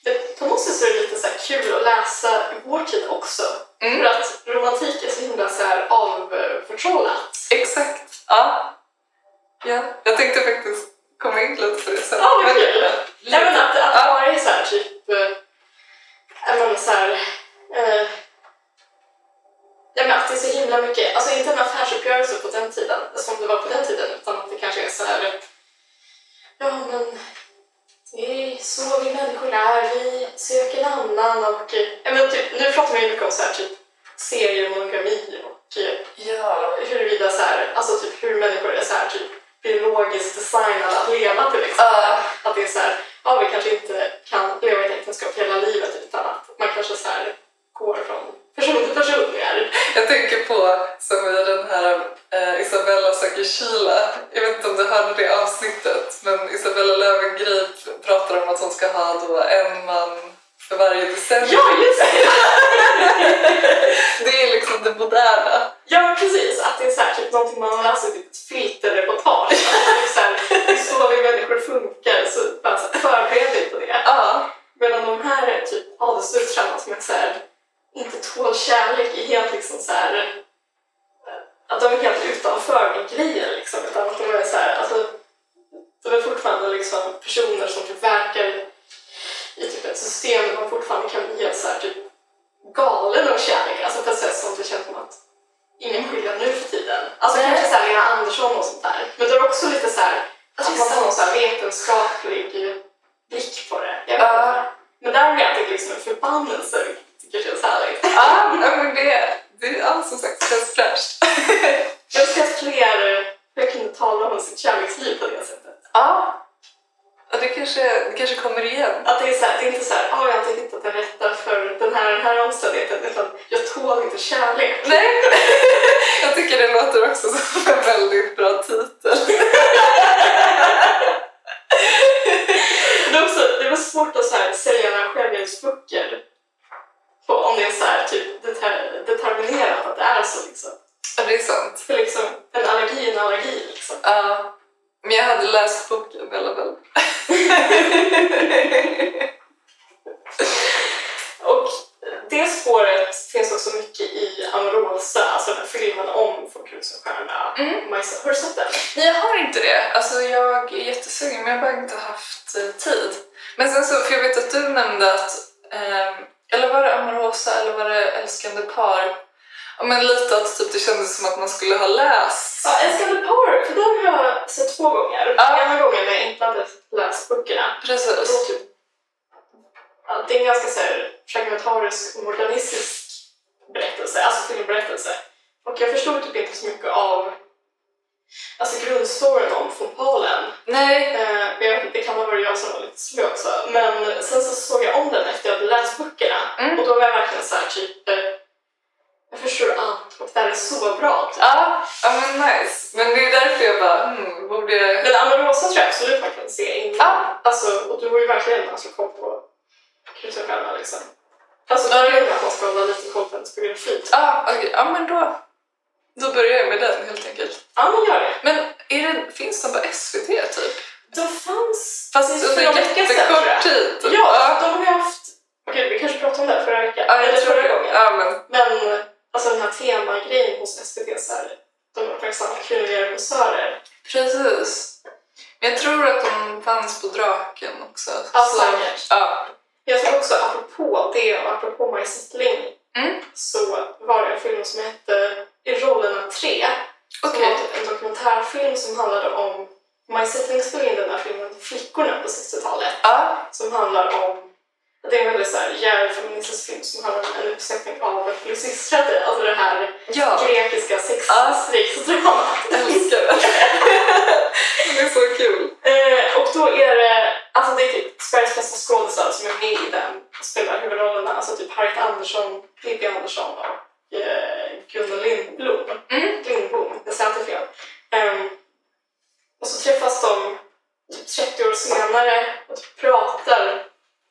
Speaker 3: Det, på något sätt så är det lite så här kul att läsa i vår tid också.
Speaker 2: Mm.
Speaker 3: För att romantik är så himla så här avförtrollat.
Speaker 2: exakt. Ja. ja. Jag tänkte faktiskt komma in lite på det sen.
Speaker 3: Ja, vad kul!
Speaker 2: Men-
Speaker 3: Nej men att, att
Speaker 2: Ja.
Speaker 3: bara är så här typ... eh, Jag menar så här... Eh, jag menar att det är så himla mycket, alltså inte en affärsuppgörelse på den tiden, som det var på den tiden, utan att det kanske är så här... Ja men... Det är så vi människor är, vi söker en annan och... eh, Jag menar, typ, nu pratar man ju mycket om så här typ seriemonogami och eh,
Speaker 2: Ja.
Speaker 3: huruvida så här, alltså typ hur människor är så här typ biologiskt designade att leva till exempel.
Speaker 2: Ja.
Speaker 3: Att det är så här, ja vi kanske inte kan leva i ett äktenskap hela livet utan att man kanske så här går från person till person mer.
Speaker 2: Jag tänker på som i den här eh, Isabella söker kyla. Jag vet inte om du hörde det avsnittet men Isabella Löwengrip pratar om att hon ska ha då en man för varje decennium.
Speaker 3: Ja just det!
Speaker 2: Det är liksom det moderna.
Speaker 3: Ja precis, att det är så här, typ någonting man har läst i typ ett filterreportage. Att typ så här, det är så vi människor funkar, så bara så här, förbered dig på det.
Speaker 2: Ja,
Speaker 3: Medan de här är typ adelsdustrarna som är så här, inte tål kärlek är helt liksom så här, eh, att de är helt utanför min grejer liksom. Utan att de är så här, alltså, de är fortfarande liksom personer som typ verkar i typ ett system där man fortfarande kan bli helt så här, typ galen av kärlek. Alltså på ett sätt som det känns som att ingen skiljer nu för tiden. Alltså
Speaker 2: Nej.
Speaker 3: kanske så här Lena Andersson och sånt där. Men det är också lite så här,
Speaker 2: Att
Speaker 3: att
Speaker 2: det
Speaker 3: man
Speaker 2: är
Speaker 3: har någon så här vetenskaplig blick på det. Jag vet
Speaker 2: Ja.
Speaker 3: inte. Men där är det liksom en förbannelse, vilket jag tycker känns härligt.
Speaker 2: ja men det, det är som sagt känns fräscht.
Speaker 3: Jag önskar att fler jag kunde tala om sitt kärleksliv på det sättet.
Speaker 2: Ja, och det kanske, det kanske kommer igen.
Speaker 3: Att det är, så här, det är inte så här, "Ah, jag har inte hittat det rätta för den här, den här omständigheten, utan jag tål inte kärlek.
Speaker 2: Nej, jag tycker det låter också som en väldigt bra titel.
Speaker 3: Det, är också, det var svårt att så här, sälja några självhjälpsböcker på- om det är så här, typ, deter, determinerat att det är så. Liksom.
Speaker 2: Ja, det är sant.
Speaker 3: För liksom, en allergi är en allergi. Liksom.
Speaker 2: Ja, men jag hade läst boken i alla fall.
Speaker 3: Och det spåret finns också mycket i Amorosa, alltså den här filmen om Folkhusen stjärna.
Speaker 2: Mm.
Speaker 3: Majsa- Har du sett den?
Speaker 2: Nej, jag har inte det. Alltså, jag är jättesugen, men jag har bara inte haft eh, tid. Men sen så, för jag vet att du nämnde att, ehm, eller var det Amorosa eller var det Älskande par? Ja, men lite att typ, det kändes som att man skulle ha läst.
Speaker 3: Ja, Älskande par, för den har jag sett två gånger.
Speaker 2: Ja.
Speaker 3: Ena gången när jag inte hade läst böckerna. Och
Speaker 2: Precis.
Speaker 3: då typ, ja, det är en ganska så här, fragmentarisk och modernistisk berättelse, alltså filmberättelse. Och jag förstod typ inte så mycket av alltså grundstoryn om von Palen.
Speaker 2: Nej.
Speaker 3: Eh, jag vet inte, det kan ha varit jag som var lite slö också. Men sen så såg jag om den efter jag hade läst böckerna.
Speaker 2: Mm.
Speaker 3: Och då var jag verkligen så här typ... eh, Jag förstår allt och det här är så bra. Typ.
Speaker 2: Ja, ja, men nice. Men det är därför jag bara, hmm, borde jag...
Speaker 3: Men Anna Rosa tror jag absolut man kan se innan.
Speaker 2: Ja.
Speaker 3: Alltså, och du var ju verkligen alltså, koll på Kristin själva liksom. Alltså där är det att man ska hålla lite koll på hennes biografi. typ.
Speaker 2: Ja, okej. Ja, men då... Då börjar jag med den helt enkelt.
Speaker 3: Ja, men gör det.
Speaker 2: Men är det, finns den på SVT typ?
Speaker 3: De fanns...
Speaker 2: Fast
Speaker 3: det är
Speaker 2: under
Speaker 3: förra veckan sedan, tror jag.
Speaker 2: jättekort tid? typ.
Speaker 3: Ja, de har ju haft... Okej, vi kanske pratade om det här förra veckan.
Speaker 2: ja
Speaker 3: Eller
Speaker 2: jag tror
Speaker 3: förra
Speaker 2: det.
Speaker 3: gången.
Speaker 2: Ja, men,
Speaker 3: Men alltså den här temagrejen hos SVT, så här, de uppmärksammar kvinnliga regissörer.
Speaker 2: precis. Men jag tror att de fanns på Draken också.
Speaker 3: Ja,
Speaker 2: så-
Speaker 3: säkert.
Speaker 2: Ja.
Speaker 3: Jag tror också, apropå det och apropå Maj Settling,
Speaker 2: Mm.
Speaker 3: så var det en film som hette I rollerna 3. Som
Speaker 2: Okej.
Speaker 3: var typ en dokumentärfilm som handlade om... Maj Settling spelade in den här filmen Flickorna på 60-talet.
Speaker 2: Ja.
Speaker 3: som handlar om det är en väldigt så här djärv feministisk film som handlar om en uppsättning av polisystrar, alltså det här
Speaker 2: Ja.
Speaker 3: grekiska
Speaker 2: Ja.
Speaker 3: sexstriksdramat.
Speaker 2: Jag älskar den. Det är så kul.
Speaker 3: Eh, och då är det, alltså det är typ Sveriges bästa skådisar som är med i den och spelar huvudrollerna. alltså typ Harriet Andersson, Pippi Andersson och eh, Gunnar Lindblom.
Speaker 2: Mm.
Speaker 3: Lindbom, jag säger inte fel. Ehm, och så träffas de typ 30 år senare och typ pratar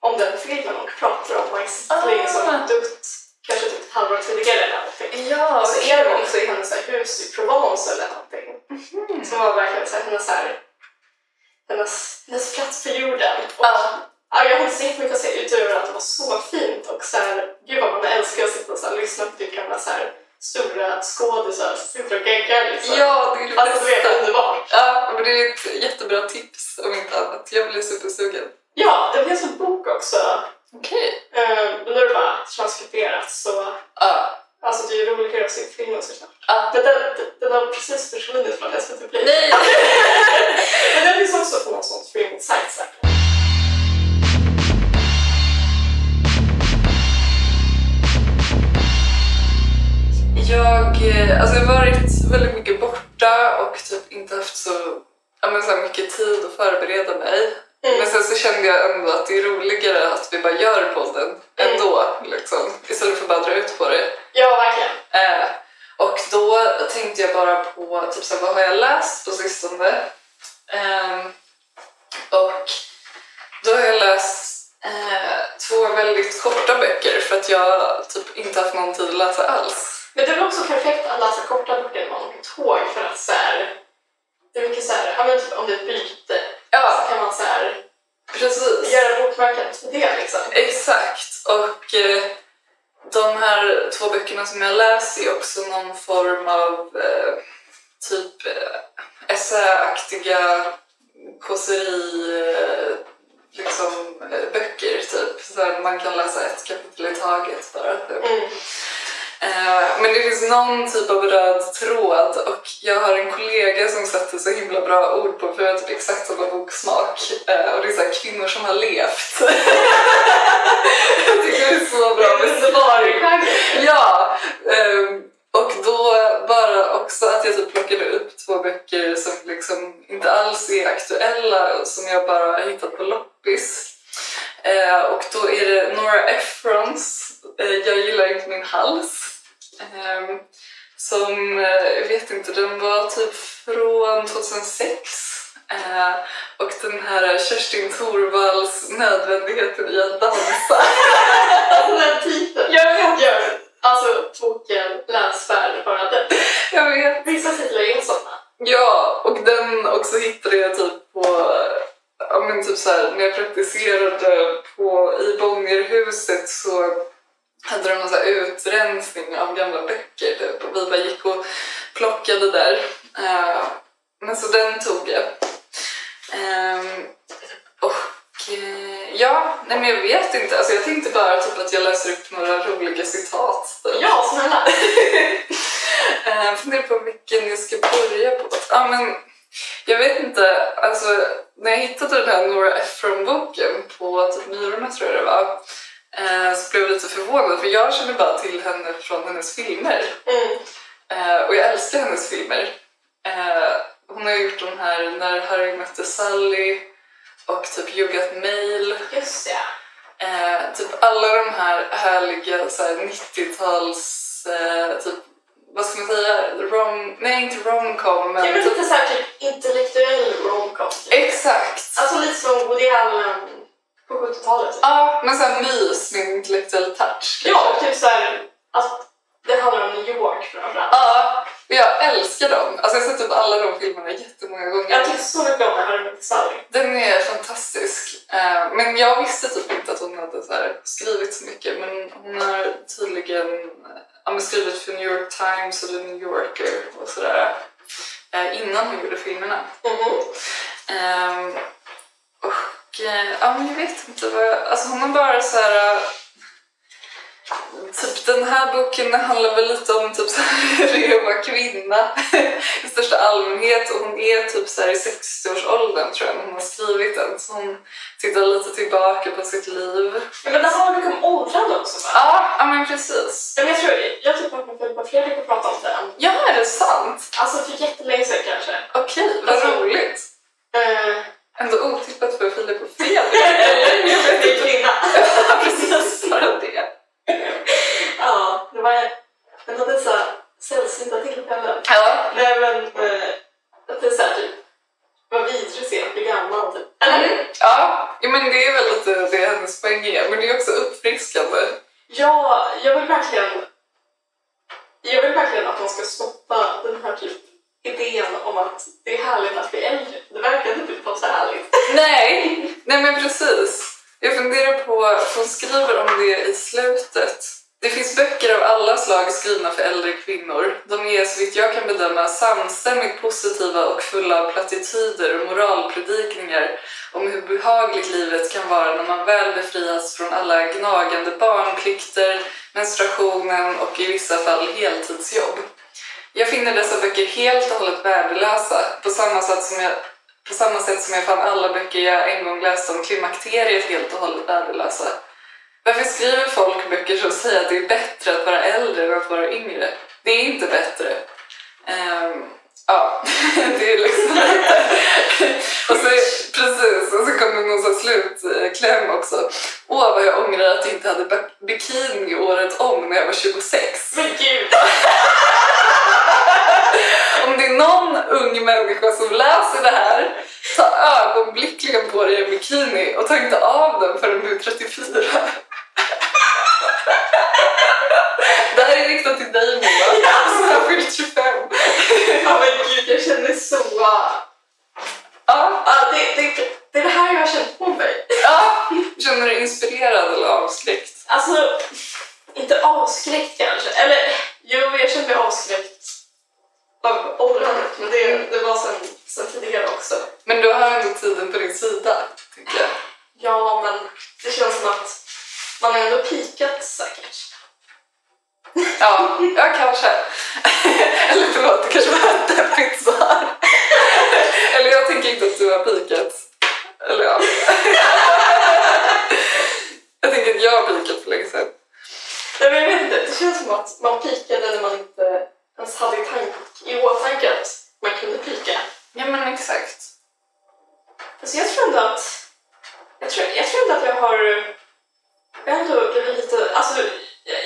Speaker 3: om den filmen och pratar om Max
Speaker 2: Ah.
Speaker 3: Sling som dött kanske typ ett halvår tidigare eller någonting.
Speaker 2: Ja,
Speaker 3: Och så är de också i hennes så här hus i Provence eller någonting.
Speaker 2: Mhm.
Speaker 3: Som var verkligen så här, hennes, så här, hennes, hennes plats på jorden. Och,
Speaker 2: Ja.
Speaker 3: ja, jag har inte så jättemycket att säga utöver att det var så fint och så här, gud vad man älskar att sitta och så här, lyssna på typ gamla så här, stora skådisar som sitter och geggar liksom.
Speaker 2: Ja, det är det
Speaker 3: Alltså det är
Speaker 2: bästa.
Speaker 3: underbart.
Speaker 2: Ja, men det är ett jättebra tips om inte annat. Jag blir supersugen.
Speaker 3: Ja, det finns en bok också.
Speaker 2: Okej.
Speaker 3: Eh, men nu är det bara transkriberat så
Speaker 2: Ja.
Speaker 3: alltså det är ju roligare att se filmen såklart.
Speaker 2: Ja.
Speaker 3: Men den, den- den har precis försvunnit från SVT Play.
Speaker 2: Nej!
Speaker 3: Men den finns också på någon sån streamingsajt säkert.
Speaker 2: Jag, eh, alltså jag har varit väldigt mycket borta och typ inte haft så, ja, men så här mycket tid att förbereda mig.
Speaker 3: Mm.
Speaker 2: Men sen så kände jag ändå att det är roligare att vi bara gör podden ändå. Liksom, istället för att bara dra ut på det.
Speaker 3: Ja, verkligen.
Speaker 2: Eh, och då tänkte jag bara på typ så här, vad har jag läst på sistone. Ehm, och då har jag läst eh, två väldigt korta böcker för att jag typ inte haft någon tid att läsa alls.
Speaker 3: Men det är väl också perfekt att läsa korta böcker när man åker tåg för att så här, det är mycket så här, ja men typ om det är ett byte så
Speaker 2: Ja,
Speaker 3: kan man så här,
Speaker 2: precis.
Speaker 3: göra bokmärket för det liksom.
Speaker 2: Exakt. Och eh, de här två böckerna som jag läst är också någon form av eh, typ eh, essäaktiga kåseri eh, liksom, eh, böcker typ. Så här, man kan läsa ett kapitel i taget bara. Typ.
Speaker 3: Mm.
Speaker 2: Eh, Men det finns någon typ av röd tråd och jag har en kollega som sätter så himla bra ord på för jag har typ exakt samma boksmak. Eh, Och det är så här, kvinnor som har levt. jag tycker det är så bra beskrivning.
Speaker 3: Alltså,
Speaker 2: Ja! ehm, Och då bara också att jag typ plockade upp två böcker som liksom inte alls är aktuella som jag bara har hittat på loppis. Eh, och då är det Nora Ephrons eh, Jag gillar inte min hals. Ehm, som, eh, jag vet inte, den var typ från 2006. Eh, och den här Kerstin Thorvalls Nödvändigheten i att dansa.
Speaker 3: Alltså den titeln
Speaker 2: Jag vet,
Speaker 3: gör alltså boken läsvärd bara den.
Speaker 2: jag vet.
Speaker 3: Vissa titlar är sådana.
Speaker 2: Ja, och den också hittade jag typ på, ja men typ så här, när jag praktiserade på, i Bångerhuset så hade de en så här utrensning av gamla böcker typ, och vi bara gick och plockade där. Eh, men så den tog jag. Ehm, och eh, ja, nej men jag vet inte, alltså jag tänkte bara typ att jag läser upp några roliga citat. Typ.
Speaker 3: Ja, snälla!
Speaker 2: Eh, funderar på vilken jag ska börja på. Ja, men jag vet inte, alltså när jag hittade den här Nora Ephron-boken på typ Myrorna tror jag det var, eh, så blev jag lite förvånad för jag känner bara till henne från hennes filmer.
Speaker 3: Mm.
Speaker 2: Eh, och jag älskar hennes filmer. Eh, hon har gjort de här När Harry mötte Sally och typ You Got Mail.
Speaker 3: Just ja.
Speaker 2: Eh, typ alla de här härliga så här 90-tals, eh, typ, vad ska man säga, rom, nej inte romcom
Speaker 3: Det är
Speaker 2: men
Speaker 3: väl
Speaker 2: typ,
Speaker 3: lite såhär typ intellektuell romcom. typ.
Speaker 2: exakt.
Speaker 3: Alltså lite som Woody Allen på 70-talet.
Speaker 2: Ja, men såhär mys med en intellektuell touch.
Speaker 3: Ja, och typ såhär, alltså det handlar om New York framförallt.
Speaker 2: Ja, och jag älskar dem. Alltså jag har sett typ alla de filmerna jättemånga gånger.
Speaker 3: Jag tycker så mycket om det här med Sally.
Speaker 2: Den är fantastisk. Eh, Men jag visste typ inte att hon hade så här skrivit så mycket. Men hon har tydligen eh, ja, men skrivit för New York Times och The New Yorker och sådär. eh, Innan hon gjorde filmerna.
Speaker 3: Mhm.
Speaker 2: Ehm, och eh, ja, men jag vet inte vad jag, alltså hon har bara så här. eh, Typ den här boken handlar väl lite om typ så här hur jag var kvinna i största allmänhet och hon är typ så här i 60-årsåldern tror jag när hon har skrivit den. Så hon tittar lite tillbaka på sitt liv.
Speaker 3: Ja, Men det handlar mycket om åldrande också va?
Speaker 2: Ja, ja men precis.
Speaker 3: Ja, men jag tror, jag tycker att man får på Fredrik och prata om den.
Speaker 2: Ja, är det sant?
Speaker 3: Alltså för jättelänge sedan kanske.
Speaker 2: Okej, vad
Speaker 3: Alltså-
Speaker 2: roligt.
Speaker 3: Eh,
Speaker 2: Ändå otippat för Filip och Fredrik.
Speaker 3: det är kvinna.
Speaker 2: Ja, precis. Bara det.
Speaker 3: eh, typ,
Speaker 2: träningspoäng är, men det är också uppfriskande.
Speaker 3: Ja, jag vill verkligen... Jag vill verkligen att man ska stoppa den här typ idén om att det är härligt att bli äldre. Det verkar inte typ vara så härligt.
Speaker 2: Nej! Nej men precis. Jag funderar på, hon skriver om det i slutet. Det finns böcker av alla slag skrivna för äldre kvinnor. De är så vitt jag kan bedöma samstämmigt positiva och fulla av plattityder och moralpredikningar om hur behagligt livet kan vara när man väl befrias från alla gnagande barnplikter, menstruationen och i vissa fall heltidsjobb. Jag finner dessa böcker helt och hållet värdelösa, på samma sätt som jag på samma sätt som jag fann alla böcker jag en gång läste om klimakteriet helt och hållet värdelösa. Varför skriver folk böcker som säger att det är bättre att vara äldre än att vara yngre? Det är inte bättre. Ehm, ja, det är liksom inte... och så, precis, och så kommer någon sån slutkläm också. Åh, vad jag ångrar att jag inte hade bik- bikini året om när jag var 26.
Speaker 3: Men gud!
Speaker 2: Om det är någon ung människa som läser det här, ta ögonblickligen på dig en bikini och ta inte av den förrän du är 34. Det här är riktat till dig Moa, som har fyllt 25.
Speaker 3: Ja men gud, jag känner så...
Speaker 2: Ja,
Speaker 3: Ja, det, det, det är det här jag har känt på mig.
Speaker 2: ja. Känner du dig inspirerad eller avskräckt?
Speaker 3: Alltså, inte avskräckt kanske. Eller jo, jag kände mig avskräckt av åldrandet. Men det, det var sen, sen tidigare också.
Speaker 2: Men du har ändå tiden på din sida, tycker jag.
Speaker 3: Ja, men det känns som att man har ändå pikat säkert.
Speaker 2: Ja, ja kanske. Eller förlåt, det kanske var ett deppigt svar. Eller jag tänker inte att du har pikat. Eller ja. Jag tänker att jag har pikat för länge sedan.
Speaker 3: Nej, men jag vet inte. Det känns som att man pikade när man inte ens hade i, tank, i åtanke att man kunde pika.
Speaker 2: Ja men exakt.
Speaker 3: Alltså jag tror ändå att... Jag tror, jag tror ändå att jag har... Jag har ändå blivit lite... Alltså,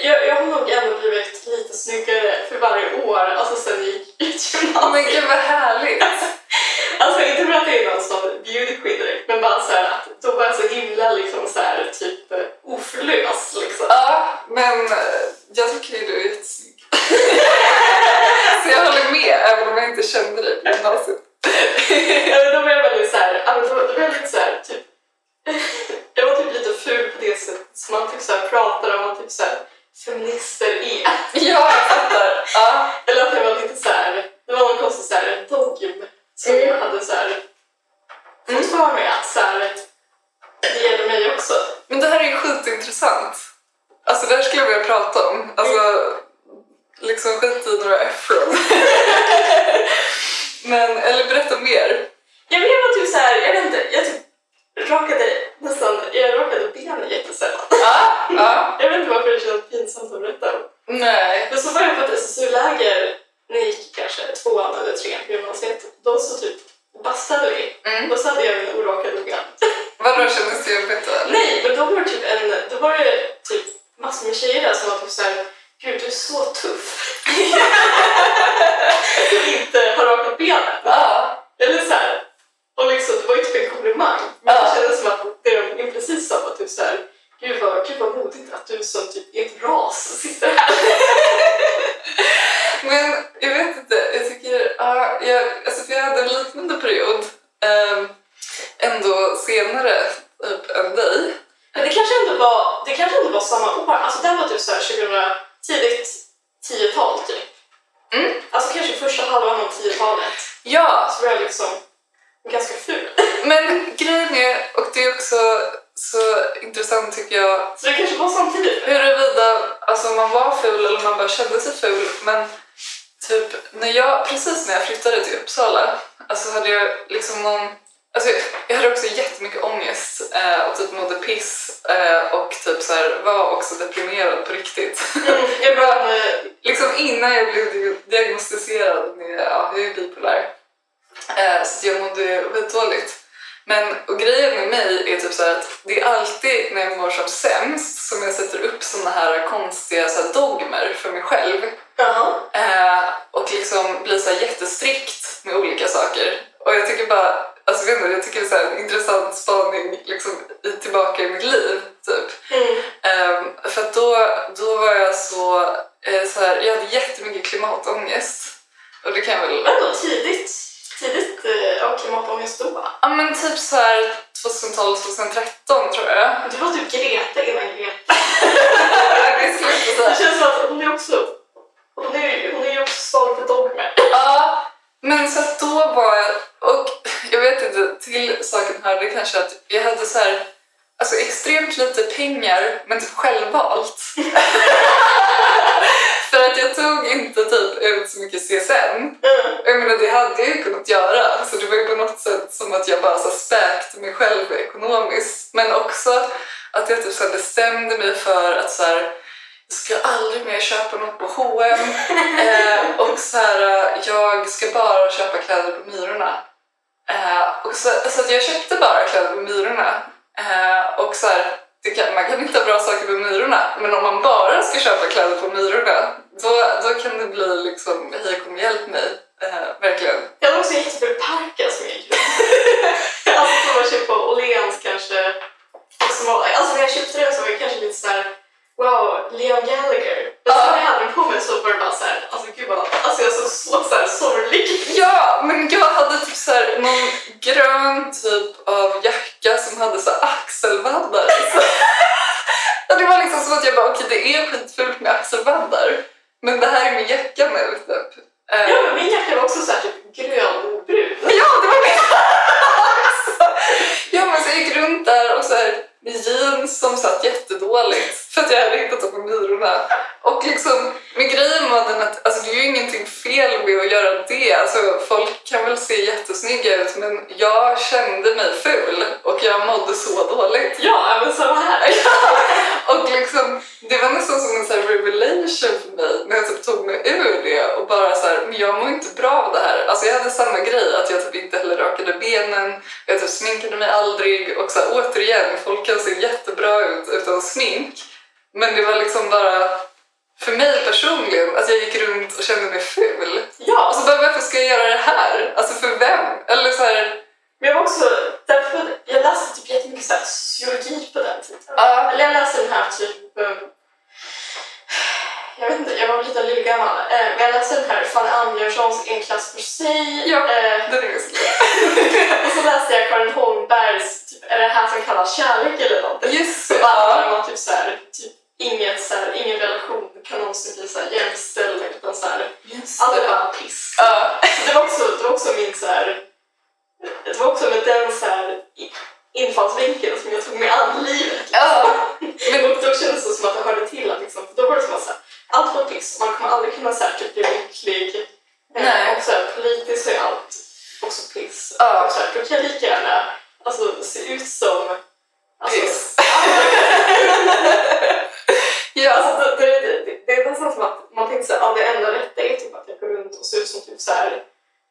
Speaker 3: jag, jag har nog ändå blivit lite snyggare för varje år, alltså sen jag gick ut
Speaker 2: Ja men
Speaker 3: gymnasiet.
Speaker 2: gud vad härligt.
Speaker 3: Alltså inte för att det är någon sån beauty queen direkt, men bara så här att då var jag så himla liksom så här typ eh, oförlös liksom.
Speaker 2: Ja, men eh, jag tycker ju du är jättesnygg. Så jag håller med, även om jag inte kände dig på gymnasiet.
Speaker 3: Ja, men då var jag väldigt så här, alltså, då var jag väldigt så här typ... Jag var typ lite ful på det sättet som man typ så här pratar om att typ så här feminister är.
Speaker 2: Ja, jag fattar. Ja.
Speaker 3: Eller att jag var lite så här, det var någon konstig så här dogm som
Speaker 2: Mm.
Speaker 3: jag hade så här fått för mig att så här, det gäller mig också.
Speaker 2: Men det här är ju skitintressant. Alltså det här skulle jag vilja prata om. Alltså, liksom skit i några afron. Men, eller berätta mer.
Speaker 3: Jag men jag var typ så här, jag vet inte, jag typ rakade nästan, jag rakade benen jättesällan.
Speaker 2: Ja, ja.
Speaker 3: Jag vet inte varför det känns pinsamt att berätta om.
Speaker 2: Nej.
Speaker 3: Men så var jag på ett SSU-läger när jag gick kanske tvåan eller trean på gymnasiet. Då så typ bastade vi.
Speaker 2: Mm.
Speaker 3: Då så hade jag en orakad ben.
Speaker 2: Vadå kändes det jobbigt då?
Speaker 3: Nej, men då var det typ en, då var det typ massor med tjejer där som var typ såhär Gud, du är så tuff. Som inte har rakat benen.
Speaker 2: Ja.
Speaker 3: Eller såhär. Och liksom, det var ju typ en komplimang. Men
Speaker 2: Ja.
Speaker 3: det kändes som att det de implicit sa var typ såhär Gud vad, gud vad modigt att du som typ är ett ras sitter här.
Speaker 2: Men jag vet inte, jag tycker... Ja, jag, alltså för jag hade en liknande period. ehm, ändå senare typ, än dig.
Speaker 3: Men det kanske ändå var, det kanske ändå var samma år. Alltså det här var typ såhär 2000, tidigt 10-tal typ.
Speaker 2: Mm.
Speaker 3: Alltså kanske första halvan av 10-talet.
Speaker 2: Ja,
Speaker 3: Så var jag liksom ganska ful.
Speaker 2: men grejen är, och det är också så intressant tycker jag,
Speaker 3: Så det kanske var samtidigt.
Speaker 2: Huruvida alltså, man var ful eller man bara kände sig ful. Men typ, när jag, precis när jag flyttade till Uppsala alltså, hade jag liksom någon... Alltså, jag hade också jättemycket ångest eh, och typ mådde piss eh, och typ så här, var också deprimerad på riktigt.
Speaker 3: Mm. Jag bara, eh,
Speaker 2: liksom innan jag blev di- diagnostiserad med ja, jag är bipolär. Eh, så att jag mådde skitdåligt. Men och grejen med mig är typ så här att det är alltid när jag mår som sämst som jag sätter upp såna här konstiga så här dogmer för mig själv.
Speaker 3: Jaha.
Speaker 2: Eh, och liksom blir så här jättestrikt med olika saker. Och jag tycker bara, alltså vet inte, jag tycker det är så här en intressant spaning liksom, i, tillbaka i mitt liv. Typ.
Speaker 3: Mm.
Speaker 2: Eh, för att då, då var jag så, eh, så här, jag hade jättemycket klimatångest. Och det kan jag väl,
Speaker 3: Ändå tidigt. Tidigt eh, av klimatångest då. va?
Speaker 2: ja men typ så här 2012, 2013 tror jag.
Speaker 3: Du var typ Greta innan Greta.
Speaker 2: Det skulle jag inte säga.
Speaker 3: Det känns som att hon är också... Hon är, hon är ju också svag för dogmer.
Speaker 2: Ja, men så att då var jag... Och jag vet inte, till saken hörde kanske att jag hade så här, alltså extremt lite pengar, men typ självvalt. För att jag tog inte typ ut så mycket CSN.
Speaker 3: Mm.
Speaker 2: Jag menar, det hade jag ju kunnat göra. Så det var ju på något sätt som att jag bara så här späkte mig själv ekonomiskt. Men också att jag typ så här bestämde mig för att så här, jag ska aldrig mer köpa något på H&M eh, Och så här, eh, jag ska bara köpa kläder på Myrorna. Eh, och så, så att jag köpte bara kläder på Myrorna. Eh, och så här, det kan, man kan hitta bra saker på Myrorna, men om man bara ska köpa kläder på Myrorna, då, då kan det bli liksom, hej kom hjälp mig. Eh, verkligen.
Speaker 3: Jag hade också en jätteful parka som jag gick med. Alltså som jag köpte på Åhléns kanske. Och som var, alltså när jag köpte den så var jag kanske lite såhär Wow, Liam Gallagher. Men sen när jag hade den på mig så var det bara såhär, alltså gud vad, alltså jag såg så såhär sorglig
Speaker 2: Ja, men jag hade typ så här, någon grön typ av jacka som hade så här axelvaddar. Så. Ja, det var liksom som att jag bara, okej det är skitfult med axelvaddar, men det här är min jacka nu. Typ. Eh,
Speaker 3: Ja, men min jacka var också såhär typ grönbrun.
Speaker 2: Ja, det var min Ja, men så jag gick runt där och så här, med jeans som satt jättedåligt för att jag hade hittat dem på Myrorna. Och liksom, men grejen var den att alltså, det är ju ingenting fel med att göra det. Alltså, folk kan väl se jättesnygga ut, men jag kände mig ful och jag mådde så dåligt.
Speaker 3: Ja, men samma här.
Speaker 2: Och liksom, det var nästan som en så här revelation för mig när jag typ tog mig ur det och bara så här, men jag mår inte bra av det här. Alltså jag hade samma grej, att jag typ inte heller rakade benen, jag typ sminkade mig aldrig och så här, återigen, folk kan se jättebra ut utan smink. Men det var liksom bara, för mig personligen, att jag gick runt och kände mig ful.
Speaker 3: Ja,
Speaker 2: Alltså bara, varför ska jag göra det här? Alltså för vem? Eller så här,
Speaker 3: men jag var också, därför, jag läste typ jättemycket såhär sociologi på den tiden.
Speaker 2: ja.
Speaker 3: Eller jag läste den här typ... eh, Jag vet inte, jag var lite lillgammal. Eh, Men jag läste den här Fanny Angelsons En klass för sig.
Speaker 2: Ja.
Speaker 3: Eh,
Speaker 2: det är det.
Speaker 3: Och så läste jag Karin Holmbergs typ, Är det här som kallas kärlek eller någonting?
Speaker 2: Just
Speaker 3: Så
Speaker 2: det.
Speaker 3: bara det
Speaker 2: ja.
Speaker 3: var typ så här, typ inget så här, ingen relation kan någonsin bli så här jämställd utan så här,
Speaker 2: Just
Speaker 3: allt är
Speaker 2: det.
Speaker 3: bara piss.
Speaker 2: Alltså, Ja.
Speaker 3: Det var också, det var också min så här, det var också med den så här i- infallsvinkeln som jag tog mig an livet.
Speaker 2: Ja.
Speaker 3: Men och då kändes det som att jag hörde till att liksom, då var det som att så här, allt var piss. Man kommer aldrig kunna så här, typ, bli lycklig. Eh,
Speaker 2: Nej.
Speaker 3: Och så här, politiskt så är allt också piss.
Speaker 2: Ja.
Speaker 3: Och så här, då kan jag lika gärna alltså, se ut som... Alltså,
Speaker 2: Piss.
Speaker 3: Alltså, det, det, det, det är nästan som att man tänkte att ja, det enda rätta är typ att jag går runt och ser ut som typ så här,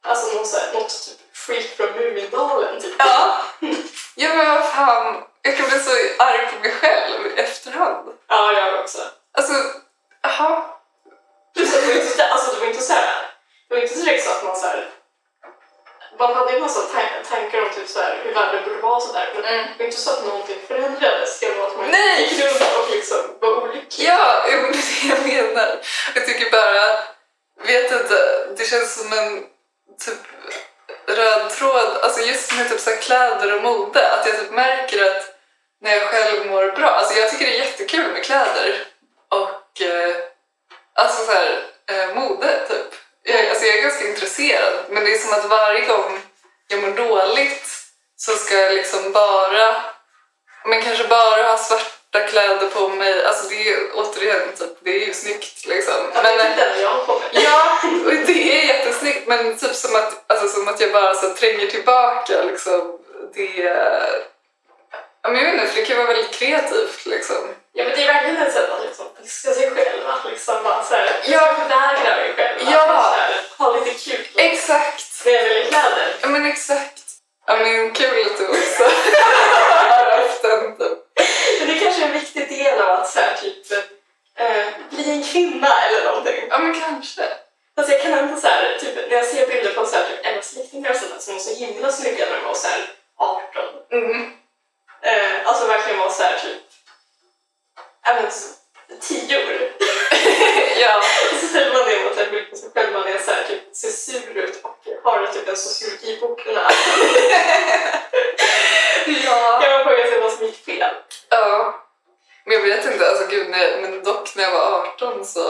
Speaker 3: alltså, någon, så här, något typ freak från Mumindalen. Typ.
Speaker 2: Ja. ja, men vad fan. Jag kan bli så arg på mig själv i efterhand.
Speaker 3: Ja, jag också.
Speaker 2: Alltså, jaha.
Speaker 3: Plus att det var inte, alltså, det var inte så här, det var inte direkt så att man så här, man hade ju massa tan- tankar om typ så här, hur världen borde vara och så där, men
Speaker 2: Mm.
Speaker 3: det var inte så att någonting förändrades genom att man
Speaker 2: Nej!
Speaker 3: gick runt och liksom var olycklig.
Speaker 2: Ja, jo, men det är det jag menar. Jag tycker bara, vet inte, det känns som en typ röd tråd, alltså just med typ så här kläder och mode, att jag typ märker att när jag själv mår bra, alltså jag tycker det är jättekul med kläder och eh, alltså så här, eh, mode typ. Jag, alltså jag är ganska intresserad, men det är som att varje gång jag mår dåligt så ska jag liksom bara men kanske bara ha svarta kläder på mig. Alltså det är ju återigen, typ, det är ju snyggt liksom.
Speaker 3: Ja,
Speaker 2: Men,
Speaker 3: det är
Speaker 2: eh,
Speaker 3: typ den jag har på mig.
Speaker 2: ja, och det är jättesnyggt men typ som att, alltså, som att jag bara så tränger tillbaka liksom. Det är... Ja, men jag vet inte, för det kan vara väldigt kreativt liksom.
Speaker 3: Ja, men det är verkligen ett sätt att liksom piska sig själv, att liksom bara så här,
Speaker 2: Ja.
Speaker 3: förvägra dig själv att liksom
Speaker 2: Ja.
Speaker 3: så här, ha lite kul liksom,
Speaker 2: Exakt!
Speaker 3: när det gäller kläder.
Speaker 2: Ja men exakt. Ja men kul att du också har haft den typ.
Speaker 3: Men det är kanske är en viktig del av att så här, typ, eh, bli en kvinna eller någonting.
Speaker 2: Ja men kanske.
Speaker 3: typ, himla snygga när de var så här 18.
Speaker 2: Mm.
Speaker 3: Eh, alltså verkligen var så här typ, även tio år.
Speaker 2: Ja.
Speaker 3: Så ställer man det mot en bild på sig själv, man är så här, typ, ser sur ut och har typ en sociologibok i näsan.
Speaker 2: ja.
Speaker 3: Kan man fråga sig vad som gick fel?
Speaker 2: Ja. Men jag vet inte, alltså gud, när, men dock när jag var 18 så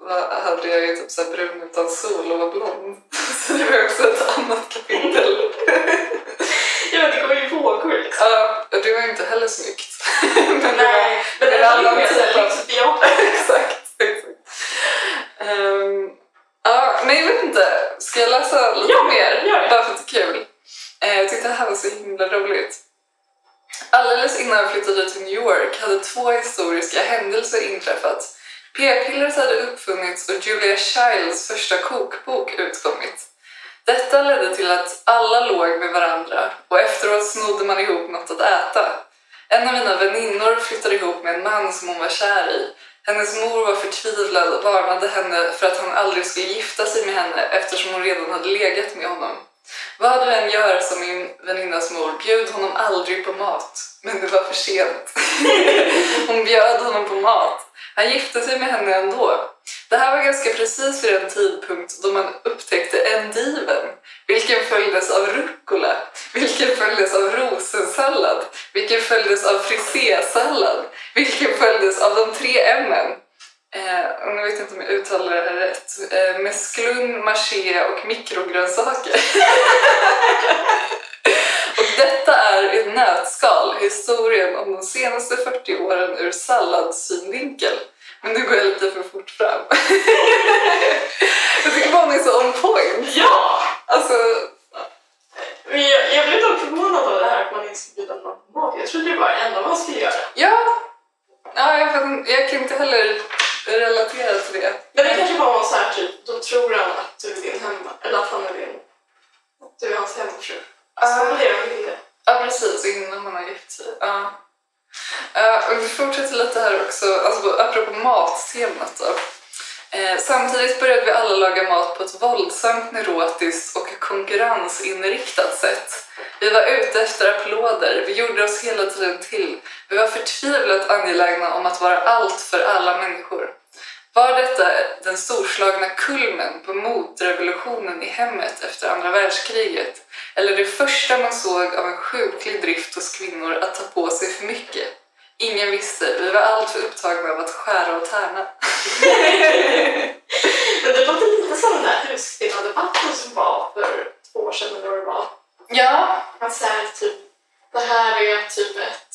Speaker 2: var, hade jag ju typ så här brun utan sol och var blond. Så det var också ett annat kapitel.
Speaker 3: Ja, men det går ju i vågor liksom.
Speaker 2: Ja, och det var ju inte heller snyggt. men det var,
Speaker 3: men det
Speaker 2: det
Speaker 3: är liksom-
Speaker 2: handlar om
Speaker 3: ju mer
Speaker 2: att sätta-
Speaker 3: såhär livsbejakande.
Speaker 2: exakt, exakt. Ehm, ja, nej jag vet inte. Ska jag läsa lite
Speaker 3: Ja,
Speaker 2: mer?
Speaker 3: gör det.
Speaker 2: Bara för att det är kul. Eh, jag tyckte det här var så himla roligt. Alldeles innan jag flyttade till New York hade två historiska händelser inträffat. P-pillret hade uppfunnits och Julia Childs första kokbok utkommit. Detta ledde till att alla låg med varandra och efteråt snodde man ihop något att äta. En av mina väninnor flyttade ihop med en man som hon var kär i. Hennes mor var förtvivlad och varnade henne för att han aldrig skulle gifta sig med henne eftersom hon redan hade legat med honom. Vad du än gör som min väninnas mor, bjud honom aldrig på mat. Men det var för sent. Hon bjöd honom på mat. Han gifte sig med henne ändå. Det här var ganska precis vid den tidpunkt då man upptäckte endiven, vilken följdes av rucola, vilken följdes av rosensallad, vilken följdes av frisésallad, vilken följdes av de tre M'en. Eh, och nu vet jag inte om jag uttalar det här rätt. Eh, mesklun, marché och mikrogrönsaker. och detta är i ett nötskal historien om de senaste 40 åren ur salladssynvinkel. Men nu går jag lite för fort fram. jag tycker bara hon är så on point.
Speaker 3: Ja!
Speaker 2: Alltså,
Speaker 3: Men jag, jag blev dock förvånad av det här att man inte ska bjuda någon på mat. Jag trodde det var det enda man skulle göra.
Speaker 2: ja. ja jag, kan, jag kan inte heller relatera till det.
Speaker 3: Men det kanske var någon så här typ, då tror han att du är din hemma, eller att han är din, att du är hans hemfru. Så
Speaker 2: Ah.
Speaker 3: det var det de ville.
Speaker 2: Ja, precis. Innan man har gift sig. Ja. Eh, och vi fortsätter lite här också, alltså, apropå mattemat då. Eh, samtidigt började vi alla laga mat på ett våldsamt neurotiskt och konkurrensinriktat sätt. Vi var ute efter applåder, vi gjorde oss hela tiden till. Vi var förtvivlat angelägna om att vara allt för alla människor. Var detta den storslagna kulmen på motrevolutionen i hemmet efter andra världskriget? Eller det första man såg av en sjuklig drift hos kvinnor att ta på sig för mycket. Ingen visste, vi var allt för upptagna av att skära och tärna.
Speaker 3: Men det låter lite som den där huskvinnadebatten som var för två år sedan eller vad det var.
Speaker 2: Ja.
Speaker 3: Att så här, typ, det här är typ ett,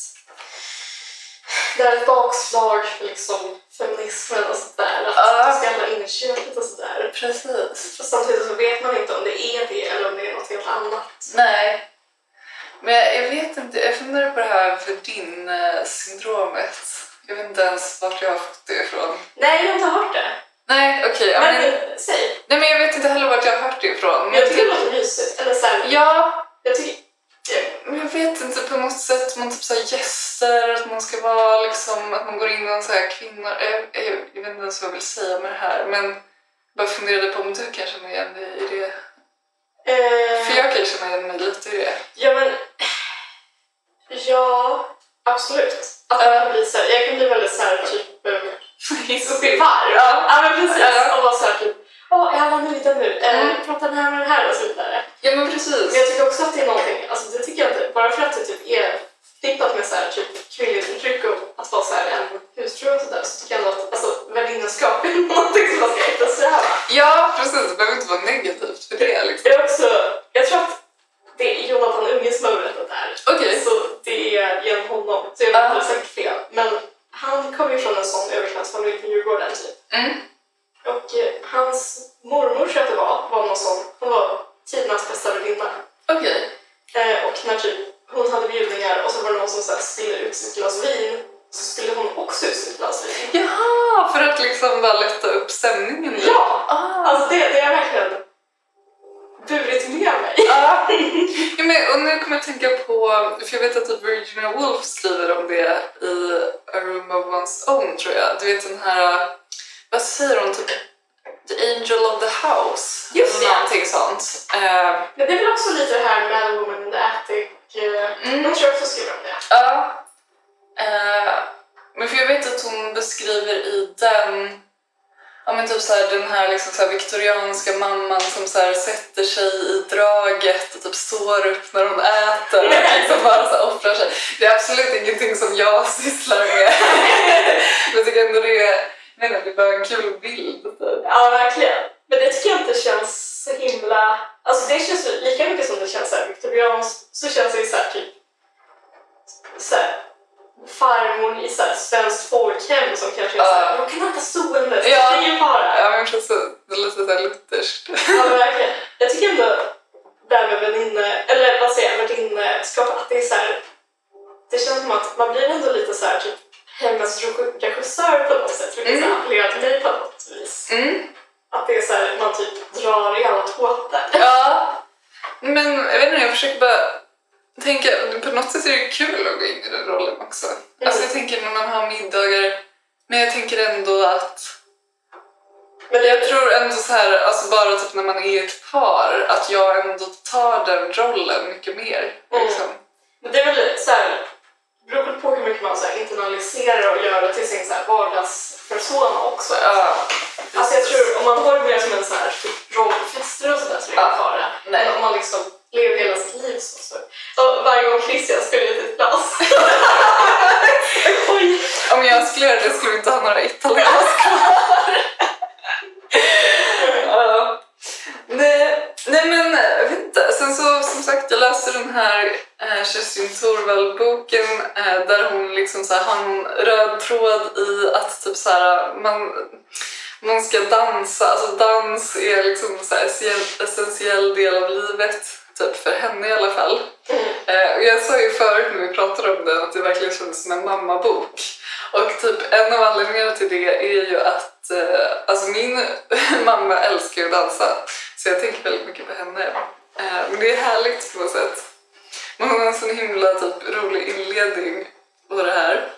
Speaker 3: det här är ett bakslag för liksom, feminismen och sådär. Att
Speaker 2: Ja.
Speaker 3: det ska alla in i köket och sådär.
Speaker 2: Precis.
Speaker 3: Fast samtidigt så vet man inte om det är det eller om det är något helt annat.
Speaker 2: Nej. Men jag jag vet inte, jag funderar på det här för din eh, syndromet. Jag vet inte ens vart jag har fått det ifrån.
Speaker 3: Nej, jag har inte hört det.
Speaker 2: Nej, okej. ja,
Speaker 3: Men,
Speaker 2: men,
Speaker 3: säg.
Speaker 2: nej, men jag vet inte heller vart jag har hört det ifrån.
Speaker 3: Jag tycker det låter mysigt. Eller så här,
Speaker 2: Ja,
Speaker 3: jag tycker...
Speaker 2: Men jag vet inte, på något sätt man typ så här gäster, att man ska vara liksom, att man går in och så här kvinnor, jag, jag, jag vet inte ens vad jag vill säga med det här men bara funderade på om du kan känna igen dig i det.
Speaker 3: Eh,
Speaker 2: För jag kan känna igen mig lite i det.
Speaker 3: Ja, men... Ja, absolut. Att
Speaker 2: Ja.
Speaker 3: jag, kan bli så här, jag kan bli väldigt så här, typ eh, uppe i varv.
Speaker 2: Ja.
Speaker 3: men precis.
Speaker 2: Ja.
Speaker 3: Och vara så här, typ... Åh, är alla nöjda nu? Eh,
Speaker 2: Mm.
Speaker 3: Pratar ni här med den här? Och så vidare.
Speaker 2: Ja men
Speaker 3: Men jag
Speaker 2: precis.
Speaker 3: tycker också att det är någonting... Alltså, det tycker jag inte... Bara för att det typ är förknippat med så här, typ, kvinnligt förtryck och att vara så här, en hustru och sådär så tycker jag ändå att alltså, värdinnaskap är någonting som man ska eftersträva.
Speaker 2: Ja precis, det behöver inte vara negativt för det liksom.
Speaker 3: Jag, också, jag tror att det är Jonathan Unge som har berättat det här.
Speaker 2: Okej.
Speaker 3: Så det är genom honom. Så jag
Speaker 2: Ah.
Speaker 3: har säkert fel. Men han kommer ju från en sån överklassfamilj på Djurgården typ.
Speaker 2: Mm.
Speaker 3: Och eh, hans mormor tror jag att det var, var någon sån. Hon var tidernas bästa värdinna.
Speaker 2: Okej.
Speaker 3: Eh, och när typ hon hade bjudningar och så var det någon som så här spillde ut sitt glas vin så skulle hon också ut sitt glas vin.
Speaker 2: Jaha, för att liksom bara lätta upp stämningen lite.
Speaker 3: Ja!
Speaker 2: Ah.
Speaker 3: Alltså det, det har jag verkligen burit med mig.
Speaker 2: Ja. ja, men, och nu kommer jag tänka på, för jag vet att typ Virginia Woolf skriver om det i A Room of One's Own tror jag. Du vet den här, vad säger hon? Typ, The Angel of the House.
Speaker 3: Just
Speaker 2: eller
Speaker 3: det.
Speaker 2: Någonting sånt. Eh,
Speaker 3: Men det är väl också lite det här med Woman in the Attic. eh,
Speaker 2: Mm.
Speaker 3: Jag tror jag också skriver om det.
Speaker 2: Ja. Eh, men för jag vet att hon beskriver i den, ja men typ så här, den här, liksom så här viktorianska mamman som så här sätter sig i draget och typ står upp när hon äter och liksom bara så här offrar sig. Det är absolut ingenting som jag sysslar med. men jag tycker ändå det är, jag menar, det är bara en kul bild. typ.
Speaker 3: Ja, verkligen. Men det tycker jag inte känns så himla... Alltså det känns ju lika mycket som det känns såhär viktorianskt, så känns det ju såhär typ... Såhär farmor i såhär svenskt folkhem som kanske är såhär,
Speaker 2: Ja.
Speaker 3: jag kan äta stående, så
Speaker 2: Ja.
Speaker 3: det är ingen fara.
Speaker 2: Ja men precis, det är lite såhär lutherskt.
Speaker 3: Ja, men verkligen. Jag tycker ändå det här med väninne, eller vad säger jag, värdinskap, att det är så här, Det känns som att man blir ändå lite så här typ hemmets reg- regissör på något sätt, vilket
Speaker 2: Mm.
Speaker 3: mm. appellerar till mig på något vis.
Speaker 2: Mm.
Speaker 3: Att det är så här, man typ drar i alla tåtar.
Speaker 2: Ja. Men jag vet inte, jag försöker bara tänka, på något sätt är det kul att gå in i den rollen också.
Speaker 3: Mm.
Speaker 2: Alltså jag tänker när man har middagar, men jag tänker ändå att,
Speaker 3: Men
Speaker 2: jag tror ändå så här, alltså bara typ när man är ett par, att jag ändå tar den rollen mycket mer.
Speaker 3: Mm.
Speaker 2: Liksom.
Speaker 3: Men det är väl så här, det beror väl på hur mycket man så här internaliserar och gör det till sin så här vardagspersona också.
Speaker 2: Ja.
Speaker 3: Alltså jag tror om man har det mer som en så här typ roll på fester och sådär så är det ingen
Speaker 2: Ja.
Speaker 3: fara.
Speaker 2: Nej.
Speaker 3: Men om man liksom lever hela sitt liv så. så. Ja, varje gång Christian skulle ut ett glas. Oj!
Speaker 2: Om jag skulle göra det skulle vi inte ha några italienska kvar. Ja. nej, nej men jag vet inte. Sen så som sagt jag läste den här eh, Kerstin Thorvall-boken eh, där hon liksom så här, har en röd tråd i att typ så här, man, man ska dansa. Alltså dans är liksom så här, essentiell- essentiell del av livet. Typ för henne i alla fall. Eh, och jag sa ju förut när vi pratade om den att det verkligen kändes som en mammabok. Och typ en av anledningarna till det är ju att eh, alltså min mamma älskar ju att dansa. Så jag tänker väldigt mycket på henne. Eh, men det är härligt på något sätt. Men hon har en sån himla typ, rolig inledning på det här.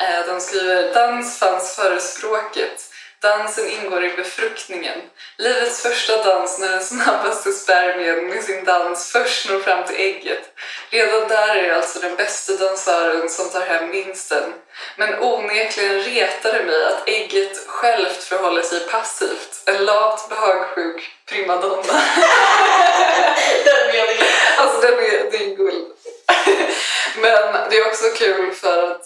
Speaker 2: Eh, de skriver dans fanns före språket. Dansen ingår i befruktningen. Livets första dans när den snabbaste spermien med sin dans först når fram till ägget. Redan där är det alltså den bästa dansören som tar hem vinsten. Men onekligen retar det mig att ägget självt förhåller sig passivt. En lat, behagsjuk primadonna.
Speaker 3: Den meningen.
Speaker 2: Alltså den är, det är guld. Men det är också kul för att,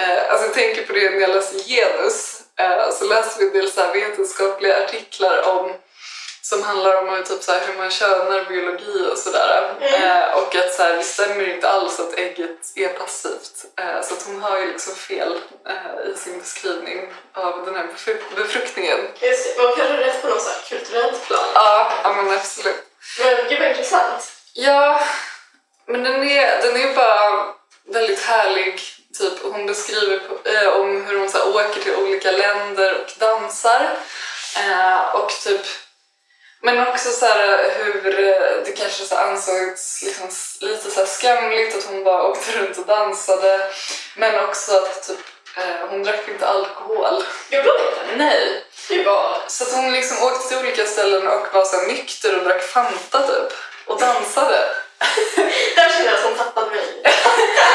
Speaker 2: eh, alltså jag tänker på det när jag läser genus, eh, så läser vi en del så här vetenskapliga artiklar om som handlar om hur, typ så här, hur man könar biologi och sådär.
Speaker 3: Mm.
Speaker 2: Eh, och att så här, det stämmer inte alls att ägget är passivt. Eh, så att hon har ju liksom fel eh, i sin beskrivning av den här befru- befruktningen.
Speaker 3: Just det, man kanske har rätt på något så här kulturellt plan.
Speaker 2: Ja, ja men absolut.
Speaker 3: Men gud vad intressant.
Speaker 2: Ja, men den är, den är bara väldigt härlig. Typ, hon beskriver på, eh, om hur hon så här, åker till olika länder och dansar. Eh, och typ, men också så här, hur eh, det kanske så här, ansågs liksom, s- lite så här, skamligt att hon bara åkte runt och dansade. Men också att typ, eh, hon drack inte alkohol.
Speaker 3: Gjorde hon inte?
Speaker 2: Nej.
Speaker 3: Det var...
Speaker 2: Så att hon liksom åkte till olika ställen och var så här, nykter och drack Fanta typ. Och dansade.
Speaker 3: Där kände jag att hon tappade mig.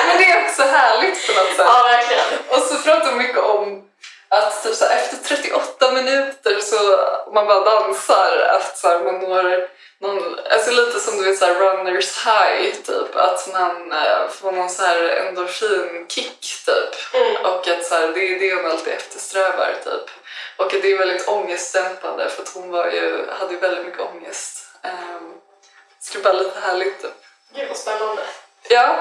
Speaker 2: Men det är också härligt på något sätt.
Speaker 3: Ja, verkligen.
Speaker 2: Och så pratar de mycket om att typ så här, efter 38 minuter så man bara dansar, att så här, man når någon, alltså lite som du vet så här, runners high typ, att man eh, får någon så här endorfinkick typ.
Speaker 3: Mm.
Speaker 2: Och att så här, det är det hon alltid eftersträvar typ. Och att det är väldigt ångestdämpande för att hon var ju, hade ju väldigt mycket ångest. Um, så det är bara lite härligt typ.
Speaker 3: Gud vad spännande.
Speaker 2: Ja,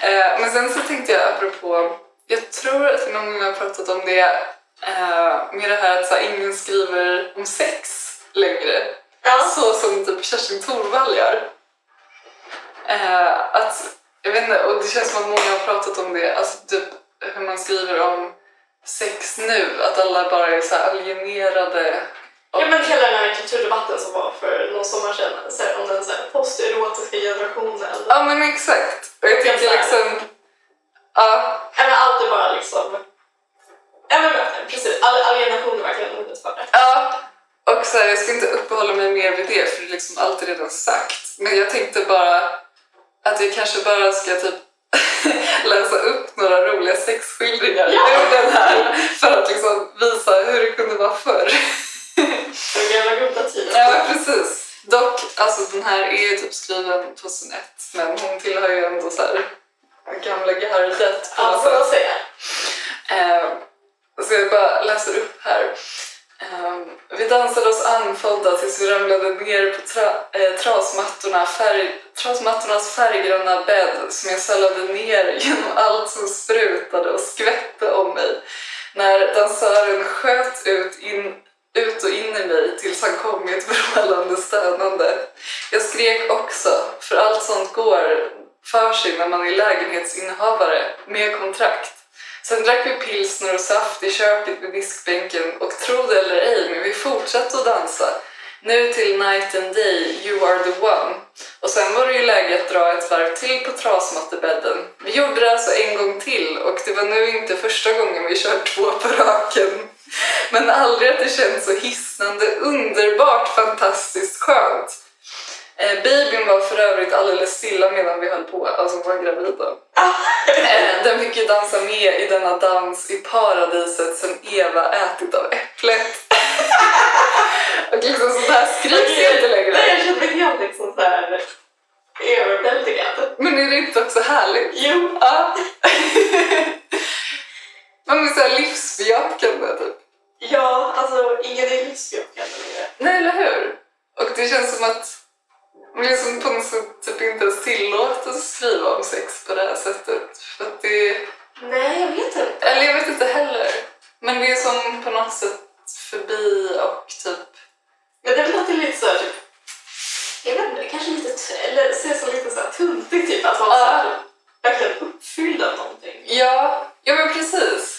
Speaker 2: eh, men sen så tänkte jag apropå, jag tror att någon gång har pratat om det, eh, med det här att så här, ingen skriver om sex längre.
Speaker 3: Ja.
Speaker 2: Så som typ Kerstin Thorvall gör. Eh, att, jag vet inte, och det känns som att många har pratat om det, alltså typ hur man skriver om sex nu, att alla bara är så här alienerade.
Speaker 3: Ja men hela den här kulturdebatten som var för någon sommar sedan, så här, om den så här, posterotiska generationen.
Speaker 2: Ja men exakt. Och jag
Speaker 3: Ganska
Speaker 2: tänker liksom, ja.
Speaker 3: Eller allt är bara liksom... Ja men precis, all, all generation är verkligen ordet för det.
Speaker 2: Ja, och och så här, jag ska inte uppehålla mig mer vid det för det är liksom allt är redan sagt. Men jag tänkte bara att jag kanske bara ska typ läsa upp några roliga sexskildringar
Speaker 3: Ja.
Speaker 2: ur den här för att liksom visa hur det kunde vara förr.
Speaker 3: Den gamla typ. goda tiden.
Speaker 2: Ja, precis. Dock, alltså den här är ju typ skriven 2001 men hon tillhör ju ändå så här gamla gardet på
Speaker 3: Ja,
Speaker 2: något
Speaker 3: får
Speaker 2: sätt.
Speaker 3: man säga.
Speaker 2: Eh, så jag bara läser upp här. Eh, vi dansade oss andfådda tills vi ramlade ner på tra, eh, trasmattorna, färg, trasmattornas färggranna bädd som jag sällade ner genom allt som sprutade och skvätte om mig. När dansören sköt ut, in, ut och in i mig tills han kom med ett vrålande stönande. Jag skrek också, för allt sånt går för sig när man är lägenhetsinnehavare med kontrakt. Sen drack vi pilsner och saft i köket vid diskbänken och tro det eller ej, men vi fortsatte att dansa. Nu till Night and Day, You Are The One. Och sen var det ju läge att dra ett varv till på trasmattebädden. Vi gjorde det alltså en gång till och det var nu inte första gången vi kört två på raken. Men aldrig att det känns så hisnande, underbart, fantastiskt skönt. Eh, babyn var för övrigt alldeles stilla medan vi höll på, alltså hon var gravid då. Eh, Den fick ju dansa med i denna dans i paradiset som Eva ätit av äpplet. Och liksom sånt här skrivs ju inte
Speaker 3: Nej,
Speaker 2: längre.
Speaker 3: jag känner mig helt liksom såhär överväldigad.
Speaker 2: Men är det inte också härligt?
Speaker 3: Jo,
Speaker 2: Ja. Man blir såhär livsbejakande typ.
Speaker 3: ja, alltså ingen är livsbejakande längre.
Speaker 2: Nej, eller hur? Och det känns som att man liksom på något sätt typ inte ens tillåter att skriva om sex på det här sättet. För att det
Speaker 3: Nej, jag vet inte.
Speaker 2: Eller jag vet inte heller. Men det är som på något sätt förbi och typ...
Speaker 3: Men det låter lite såhär typ... Jag vet inte, kanske lite... t- Eller ses som lite såhär tuntigt typ. Att vara
Speaker 2: Ja.
Speaker 3: såhär verkligen uppfylld av någonting.
Speaker 2: Ja, ja men precis.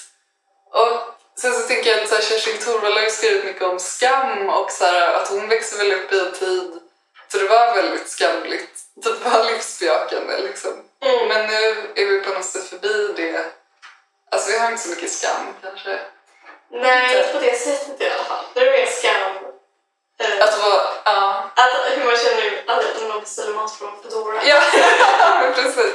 Speaker 2: Och sen så tänker jag att så här, Kerstin Thorvall har ju skrivit mycket om skam och så här, att hon växer väl upp i en tid då det var väldigt skamligt. Typ var livsbejakande liksom.
Speaker 3: Mm.
Speaker 2: Men nu är vi på något sätt förbi det. Alltså vi har inte så mycket skam kanske.
Speaker 3: Nej, inte på det sättet i alla fall. Det är mer skam. eh,
Speaker 2: Att vara... Ja.
Speaker 3: Att, hur man känner att när man beställer mat från Foodora.
Speaker 2: Ja, men precis.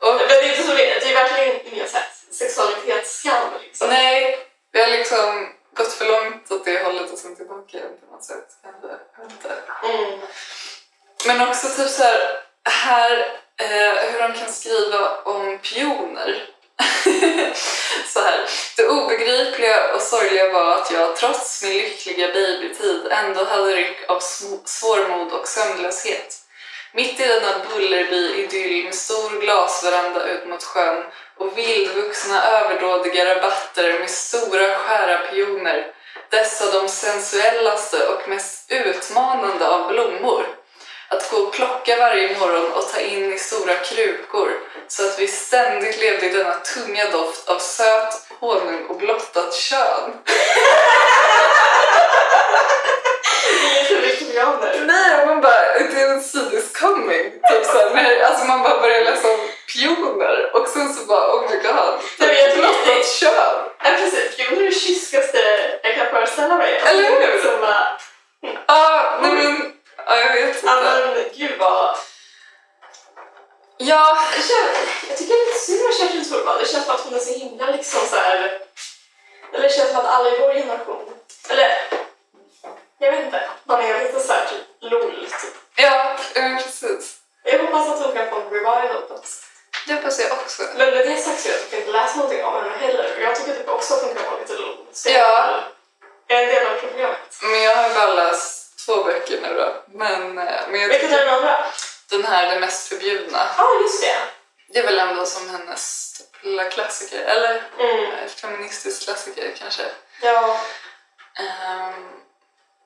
Speaker 2: Och,
Speaker 3: Men det är inte så det Det är verkligen ingen så här sexualitetsskam liksom.
Speaker 2: Nej, vi har liksom gått för långt åt det hållet och sen tillbaka igen på något sätt. Kanske. Jag vet inte.
Speaker 3: Mm.
Speaker 2: Men också typ så här, här eh, hur de kan skriva om pioner. så här. Det obegripliga och sorgliga var att jag trots min lyckliga babytid ändå hade ryck av sm- svårmod och sömnlöshet. Mitt i denna Bullerby-idyll med stor glasveranda ut mot sjön och vildvuxna överdådiga rabatter med stora skära pioner. Dessa de sensuellaste och mest utmanande av blommor. Att gå och plocka varje morgon och ta in i stora krukor så att vi ständigt levde i denna tunga doft av söt honung och blottat kön.
Speaker 3: Det är inte mycket pianer.
Speaker 2: Nej, man bara, det är en sidis coming. Typ så här, när, alltså man bara börjar läsa om pioner och sen så bara, oh my god,
Speaker 3: Nej, men jag tror att
Speaker 2: blottat kön.
Speaker 3: Ja, precis. Gud, det är det kyskaste jag kan föreställa mig.
Speaker 2: Eller hur?
Speaker 3: Som bara,
Speaker 2: Ja, nej men, ja, jag vet
Speaker 3: ja,
Speaker 2: inte.
Speaker 3: men gud vad...
Speaker 2: Ja,
Speaker 3: Jag, känner, jag tycker det är lite synd med Kerstin Thorvald. Det känns som att hon är så himla liksom så här... Eller det känns som att alla i vår generation... Eller... Jag vet inte. Man är lite så här typ LOL, typ.
Speaker 2: ja, ja, precis.
Speaker 3: Jag hoppas att hon kan få en revival på ett sätt.
Speaker 2: Det hoppas jag också.
Speaker 3: Men med det sagt så har jag typ inte läst någonting om henne heller. Jag tycker typ också att hon kan vara lite LOL. Så
Speaker 2: Ja.
Speaker 3: Jag är en del av problemet.
Speaker 2: Men jag har ju bara läst två böcker nu då. Men, eh, men jag
Speaker 3: Vilken är
Speaker 2: tycker
Speaker 3: den andra?
Speaker 2: den här, Det mest förbjudna,
Speaker 3: Ja, just det.
Speaker 2: det är väl ändå som hennes typ lilla klassiker, eller
Speaker 3: Mm.
Speaker 2: eh, feministisk klassiker kanske.
Speaker 3: Ja.
Speaker 2: Ehm,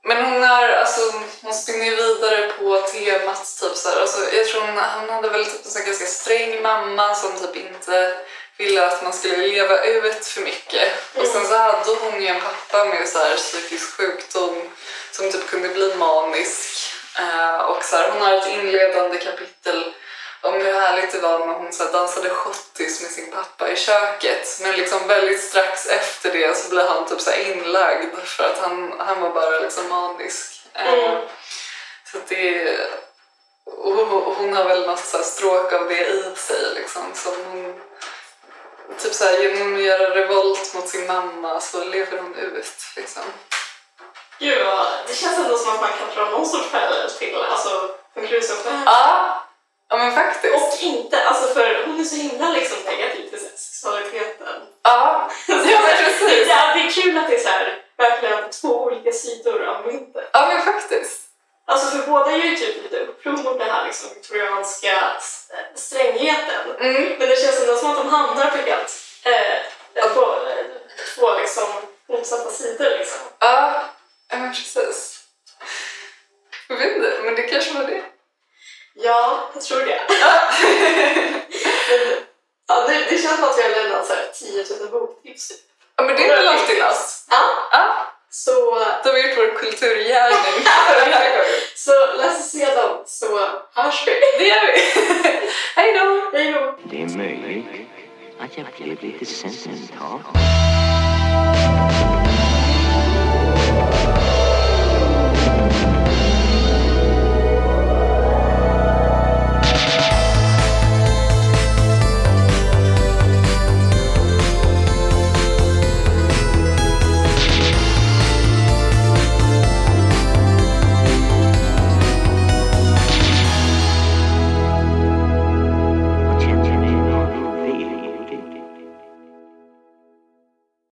Speaker 2: men hon är, alltså hon spinner ju vidare på temat typ så här. Alltså, jag tror hon, hon hade väl typ en sån här ganska sträng mamma som typ inte ville att man skulle leva ut för mycket. Och sen så hade hon ju en pappa med så här psykisk sjukdom som typ kunde bli manisk. Eh, och så här, hon har ett inledande kapitel om hur härligt det var när hon så här dansade schottis med sin pappa i köket. Men liksom väldigt strax efter det så blev han typ så här inlagd för att han, han var bara liksom manisk. Eh,
Speaker 3: Mm.
Speaker 2: Så att det är, och hon- och hon har väl något så här stråk av det i sig liksom. Som hon, typ så här, genom att göra revolt mot sin mamma så lever hon ut liksom.
Speaker 3: Gud, vad- det känns ändå som att man kan dra någon sorts parallell till alltså, från Crusoe.
Speaker 2: Ja, ja men faktiskt.
Speaker 3: Och inte, alltså för hon är så himla liksom negativ till sexualiteten. Alltså,
Speaker 2: Ja, ja men
Speaker 3: Det
Speaker 2: precis.
Speaker 3: är, det är kul att det är så här, verkligen två olika sidor av myntet.
Speaker 2: Ja men faktiskt.
Speaker 3: Alltså för båda är ju typ lite uppror mot den här liksom viktorianska s- strängheten.
Speaker 2: Mm.
Speaker 3: Men det känns ändå som att de hamnar på helt eh, på, eh, två liksom motsatta sidor liksom.
Speaker 2: Ja, ja men precis. Jag vet inte, men det kanske var det.
Speaker 3: Ja, jag tror det. Men, ja, det, det känns som att vi har lämnat så här 10 000 boktips. typ.
Speaker 2: Ja men det är väl alltid något.
Speaker 3: Ja,
Speaker 2: Ja,
Speaker 3: så,
Speaker 2: då har vi gjort vår kulturgärning för den här gången.
Speaker 3: så läs sedan så hörs vi.
Speaker 2: Det gör vi. Hej då!
Speaker 3: Hej då!
Speaker 1: Det är möjligt att jag blev lite sentimental.